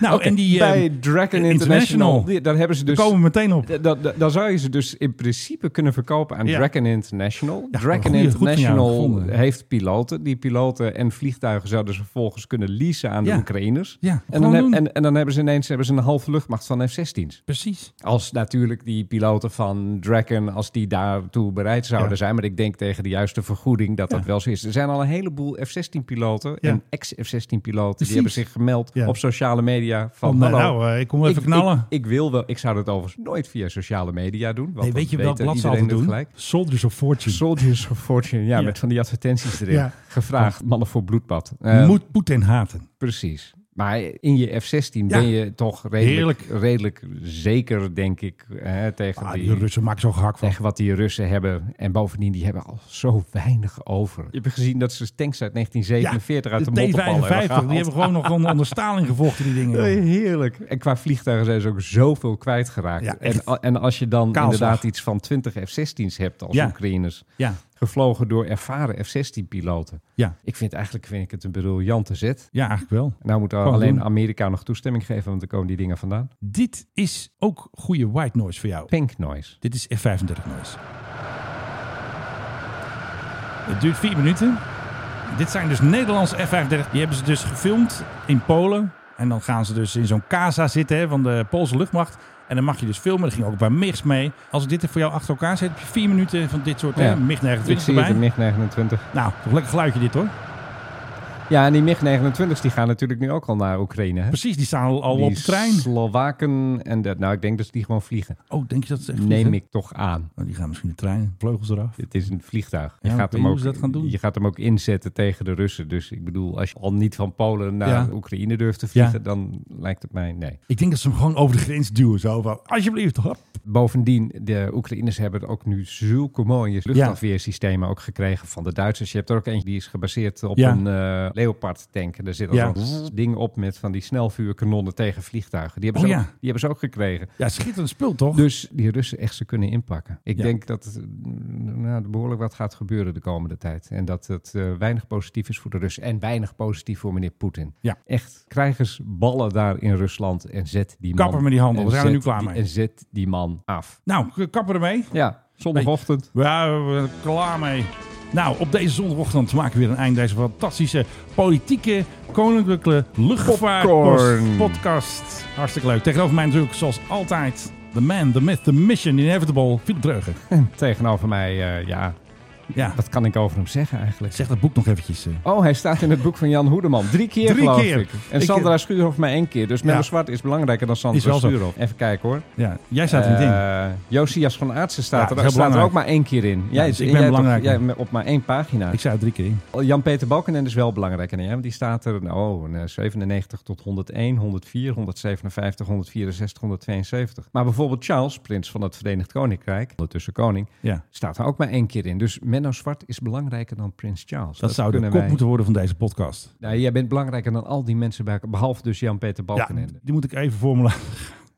S1: nou, en die... eh,
S2: Bij Draken
S1: International.
S2: International, die- daar hebben ze dus...
S1: daar komen we meteen op.
S2: Da- da- Dan zou je ze dus in principe kunnen verkopen aan
S1: Ja.
S2: Draken International.
S1: Ja,
S2: Dragon
S1: goeie- goed van jou
S2: International
S1: gevonden.
S2: heeft piloten. Die piloten en vliegtuigen zouden ze vervolgens kunnen leasen aan
S1: Ja.
S2: de Oekraïners.
S1: Ja,
S2: en,
S1: gewoon
S2: dan heb-
S1: doen.
S2: en, en dan hebben ze ineens hebben ze een halve luchtmacht van F-16's.
S1: Precies.
S2: Als natuurlijk die piloten van Draken, als die daartoe bereid zouden
S1: Ja.
S2: zijn. Maar ik denk tegen de juiste vergoeding dat dat
S1: Ja.
S2: wel zo is. Er zijn al een heleboel F-16-piloten
S1: Ja.
S2: en ex-F-16-piloten.
S1: Precies.
S2: Die hebben zich gemeld
S1: Ja.
S2: op sociale media. Van,
S1: Van,
S2: hallo,
S1: nou, eh, ik kom even
S2: ik,
S1: knallen.
S2: Ik, ik wil wel. Ik zou dat overigens nooit via sociale media doen. Want
S1: nee, weet je
S2: wel
S1: welk blad ze altijd doen?
S2: Gelijk.
S1: Soldiers of Fortune.
S2: Soldiers of Fortune, ja,
S1: Ja.
S2: met van die advertenties erin.
S1: Ja.
S2: Gevraagd, mannen voor bloedbad. Eh,
S1: Moet Poetin haten.
S2: Precies. Maar in je F-16
S1: Ja.
S2: ben je toch redelijk,
S1: Heerlijk.
S2: redelijk zeker, denk ik, hè, tegen,
S1: Ah, die
S2: die,
S1: Russen maken zo gehakt van.
S2: tegen wat die Russen hebben. En bovendien, die hebben al zo weinig over. Je hebt gezien dat ze tanks uit 1947 uit de,
S1: T-55,
S2: mottenbal hebben gehaald.
S1: die hebben gewoon nog onder, onder Stalin gevochten, die dingen. joh.
S2: Eh, Heerlijk. En qua vliegtuigen zijn ze ook zoveel kwijtgeraakt.
S1: Ja, echt.
S2: en, a- en als je dan
S1: Kaalslag.
S2: inderdaad iets van 20 F-16's hebt als
S1: Ja.
S2: Oekraïners,
S1: Ja,
S2: gevlogen door ervaren F-16-piloten.
S1: ja,
S2: Ik vind eigenlijk vind ik het een briljante zet.
S1: ja, eigenlijk wel.
S2: Nou moet
S1: Gewoon
S2: alleen
S1: doen.
S2: Amerika nog toestemming geven, want er komen die dingen vandaan.
S1: Dit is ook goede white noise voor jou.
S2: Pink noise.
S1: Dit is F35 noise. Het duurt vier minuten. Dit zijn dus Nederlandse F35. Die hebben ze dus gefilmd in Polen. En dan gaan ze dus in zo'n casa zitten hè, van de Poolse luchtmacht. En dan mag je dus filmen. Er ging ook bij MIGs mee. Als ik dit er voor jou achter elkaar zet, heb je vier minuten van dit soort
S2: Ja.
S1: hè, MIG-29
S2: Ik zie het,
S1: erbij.
S2: de MiG-29.
S1: Nou, toch lekker geluidje dit hoor.
S2: Ja, en die MiG-29's die gaan natuurlijk nu ook al naar Oekraïne. Hè?
S1: Precies, die staan al, al
S2: Die
S1: op de trein.
S2: Slowaken en dat. Nou, ik denk dat ze die gewoon vliegen.
S1: Oh, denk je dat ze echt
S2: Neem
S1: vliegen?
S2: ik toch aan.
S1: Oh, die gaan misschien de trein, vleugels eraf.
S2: Het is een vliegtuig.
S1: Ja,
S2: Je,
S1: maar
S2: gaat
S1: ik weet
S2: hem
S1: niet
S2: ook,
S1: hoe ze dat gaan doen.
S2: je gaat hem ook inzetten tegen de Russen. Dus ik bedoel, als je al niet van Polen naar
S1: Ja.
S2: Oekraïne durft te vliegen,
S1: Ja.
S2: dan lijkt het mij nee.
S1: Ik denk dat ze hem gewoon over de grens duwen. Zo van, alsjeblieft, hop.
S2: Bovendien, de Oekraïners hebben ook nu zulke mooie luchtafweersystemen ook gekregen van de Duitsers. Je hebt er ook eentje die is gebaseerd op
S1: Ja.
S2: een eh Leopard tank. En daar zit al
S1: Ja.
S2: zo'n ding op met van die snelvuurkanonnen tegen vliegtuigen. Die hebben,
S1: Oh,
S2: ze ook,
S1: ja.
S2: die hebben ze ook gekregen.
S1: Ja, schitterend spul toch?
S2: Dus die Russen echt ze kunnen inpakken. Ik
S1: Ja.
S2: denk dat het, mm, nou, er behoorlijk wat gaat gebeuren de komende tijd. En dat het eh, weinig positief is voor de Russen. En weinig positief voor meneer Poetin.
S1: Ja.
S2: Echt, krijgers ballen daar in Rusland. En zet die man...
S1: Kapper met die handel,
S2: en
S1: we zijn er
S2: zet
S1: nu klaar
S2: die-
S1: mee.
S2: En zet die man af.
S1: Nou, k- kappen ermee.
S2: Ja, zondagochtend.
S1: Ja, we zijn er klaar mee. Nou, op deze zondagochtend maken we weer een eind aan deze fantastische politieke koninklijke
S2: Popcorn.
S1: luchtvaartpodcast. Hartstikke leuk. Tegenover mij natuurlijk, zoals altijd, the man, the myth, the mission, inevitable, Philip Dreugen.
S2: Tegenover mij, eh, ja,
S1: Ja,
S2: wat kan ik over hem zeggen eigenlijk?
S1: zeg dat boek nog eventjes. eh.
S2: Oh, hij staat in het boek van Jan Hoedeman. Drie keer
S1: Drie
S2: geloof
S1: keer.
S2: ik. En
S1: Ik-
S2: Sandra Schuurhoff maar één keer. Dus Menno
S1: Ja.
S2: Zwart is belangrijker dan
S1: Is wel
S2: Sandra
S1: zo.
S2: Schuurhoff. Even kijken hoor.
S1: Ja, jij staat er niet in.
S2: Eh, Josias van Aartsen
S1: Ja,
S2: staat,
S1: dat is
S2: er,
S1: heel
S2: staat er ook
S1: belangrijk.
S2: maar één keer in. Jij,
S1: dus ik
S2: jij
S1: ben
S2: hebt
S1: belangrijk.
S2: Op, jij hebt op maar één pagina.
S1: Ik sta er drie keer in.
S2: Jan-Peter Balkenende is wel belangrijker dan jij. Want die staat er nou, oh, eh, 97 tot 101, 104, 157, 164, 172. Maar bijvoorbeeld Charles, prins van het Verenigd Koninkrijk, ondertussen koning,
S1: Ja.
S2: staat er ook maar één keer in. Dus Menno Zwart is belangrijker dan prins Charles.
S1: Dat, zou de
S2: kunnen
S1: kop
S2: wij-
S1: moeten worden van deze podcast.
S2: Nou, jij bent belangrijker dan al die mensen bij elkaar, behalve dus Jan-Peter
S1: Ja,
S2: Balkenende.
S1: die moet ik even formuleren.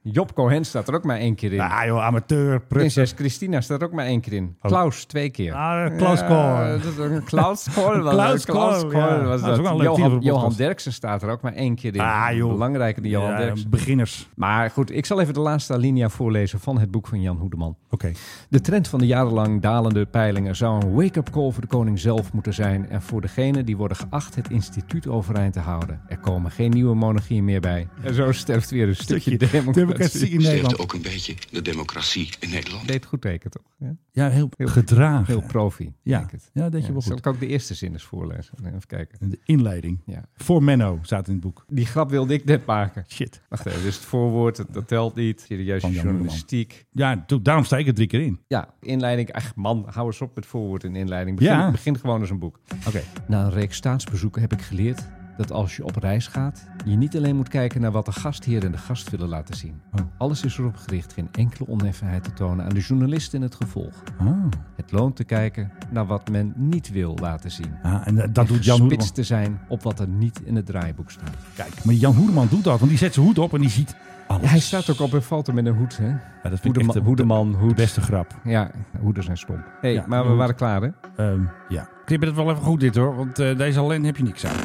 S2: Job Cohen staat er ook maar één keer in.
S1: Ah joh, amateur, prut.
S2: Prinses Christina staat er ook maar één keer in.
S1: Oh.
S2: Klaus twee keer.
S1: Ah, Klaus Kohl.
S2: dat is ook een Klaus Kohl. was-
S1: Klaus Kohl,
S2: Kohl
S1: ja.
S2: was
S1: Dat is
S2: dat.
S1: ook wel een leuk titel voor
S2: Johan,
S1: de
S2: Johan
S1: podcast.
S2: Derksen staat er ook maar één keer in.
S1: Ah, joh.
S2: Belangrijker dan Johan
S1: Ja,
S2: Derksen.
S1: beginners.
S2: Maar goed, ik zal even de laatste alinea voorlezen van het boek van Jan Hoedeman.
S1: Oké.
S2: De trend van de jarenlang dalende peilingen zou een wake-up call voor de koning zelf moeten zijn en voor degenen die worden geacht het instituut overeind te houden. Er komen geen nieuwe monarchieën meer bij. En zo sterft weer een stukje,
S1: democratie
S2: democratie.
S1: in Nederland.
S9: ook een beetje de democratie in Nederland.
S2: Deed goed teken toch? Ja?
S1: Ja, heel,
S2: Heel-
S1: gedragen.
S2: Heel profi.
S1: Ja.
S2: denk ik het.
S1: Ja, dat deed je wel goed.
S2: Zal ik ook de eerste zin eens voorlezen? Nee, Even kijken.
S1: De inleiding.
S2: Ja.
S1: Voor Menno staat in het boek.
S2: Die grap wilde ik net maken.
S1: Shit.
S2: Wacht even, dus het voorwoord, dat, dat telt niet. Serieuze
S1: Van Jan
S2: journalistiek.
S1: Ja, to- daarom sta ik er drie keer in.
S2: Ja, inleiding. Ach man, hou eens op met voorwoord en inleiding. Begin,
S1: Ja.
S2: begin gewoon eens een boek.
S1: Oké.
S2: Na een reeks staatsbezoeken heb ik geleerd dat als je op reis gaat, je niet alleen moet kijken naar wat de gastheer en de gast willen laten zien.
S1: Oh.
S2: Alles is erop gericht geen enkele oneffenheid te tonen aan de journalist in het gevolg.
S1: Ah.
S2: Het loont te kijken naar wat men niet wil laten zien.
S1: Ah, en dat doet Jan
S2: Spits
S1: Hoedeman.
S2: te zijn op wat er niet in het draaiboek staat.
S1: Kijk, maar Jan Hoedeman doet dat, want die zet zijn hoed op en die ziet alles.
S2: hij staat ook op een foto met een hoed, hè?
S1: Ja, dat vind ik
S2: Hoedeman,
S1: echt eh, de,
S2: hoedeman,
S1: de
S2: hoed.
S1: beste grap.
S2: Ja, hoeden zijn stom. hey,
S1: Ja,
S2: maar we
S1: hoed.
S2: waren klaar, hè?
S1: Ehm, ja. Knip het wel even goed dit hoor, want eh, deze alleen heb je niks aan.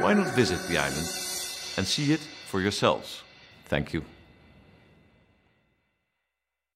S4: Why not visit the island and see it for yourselves? Thank you.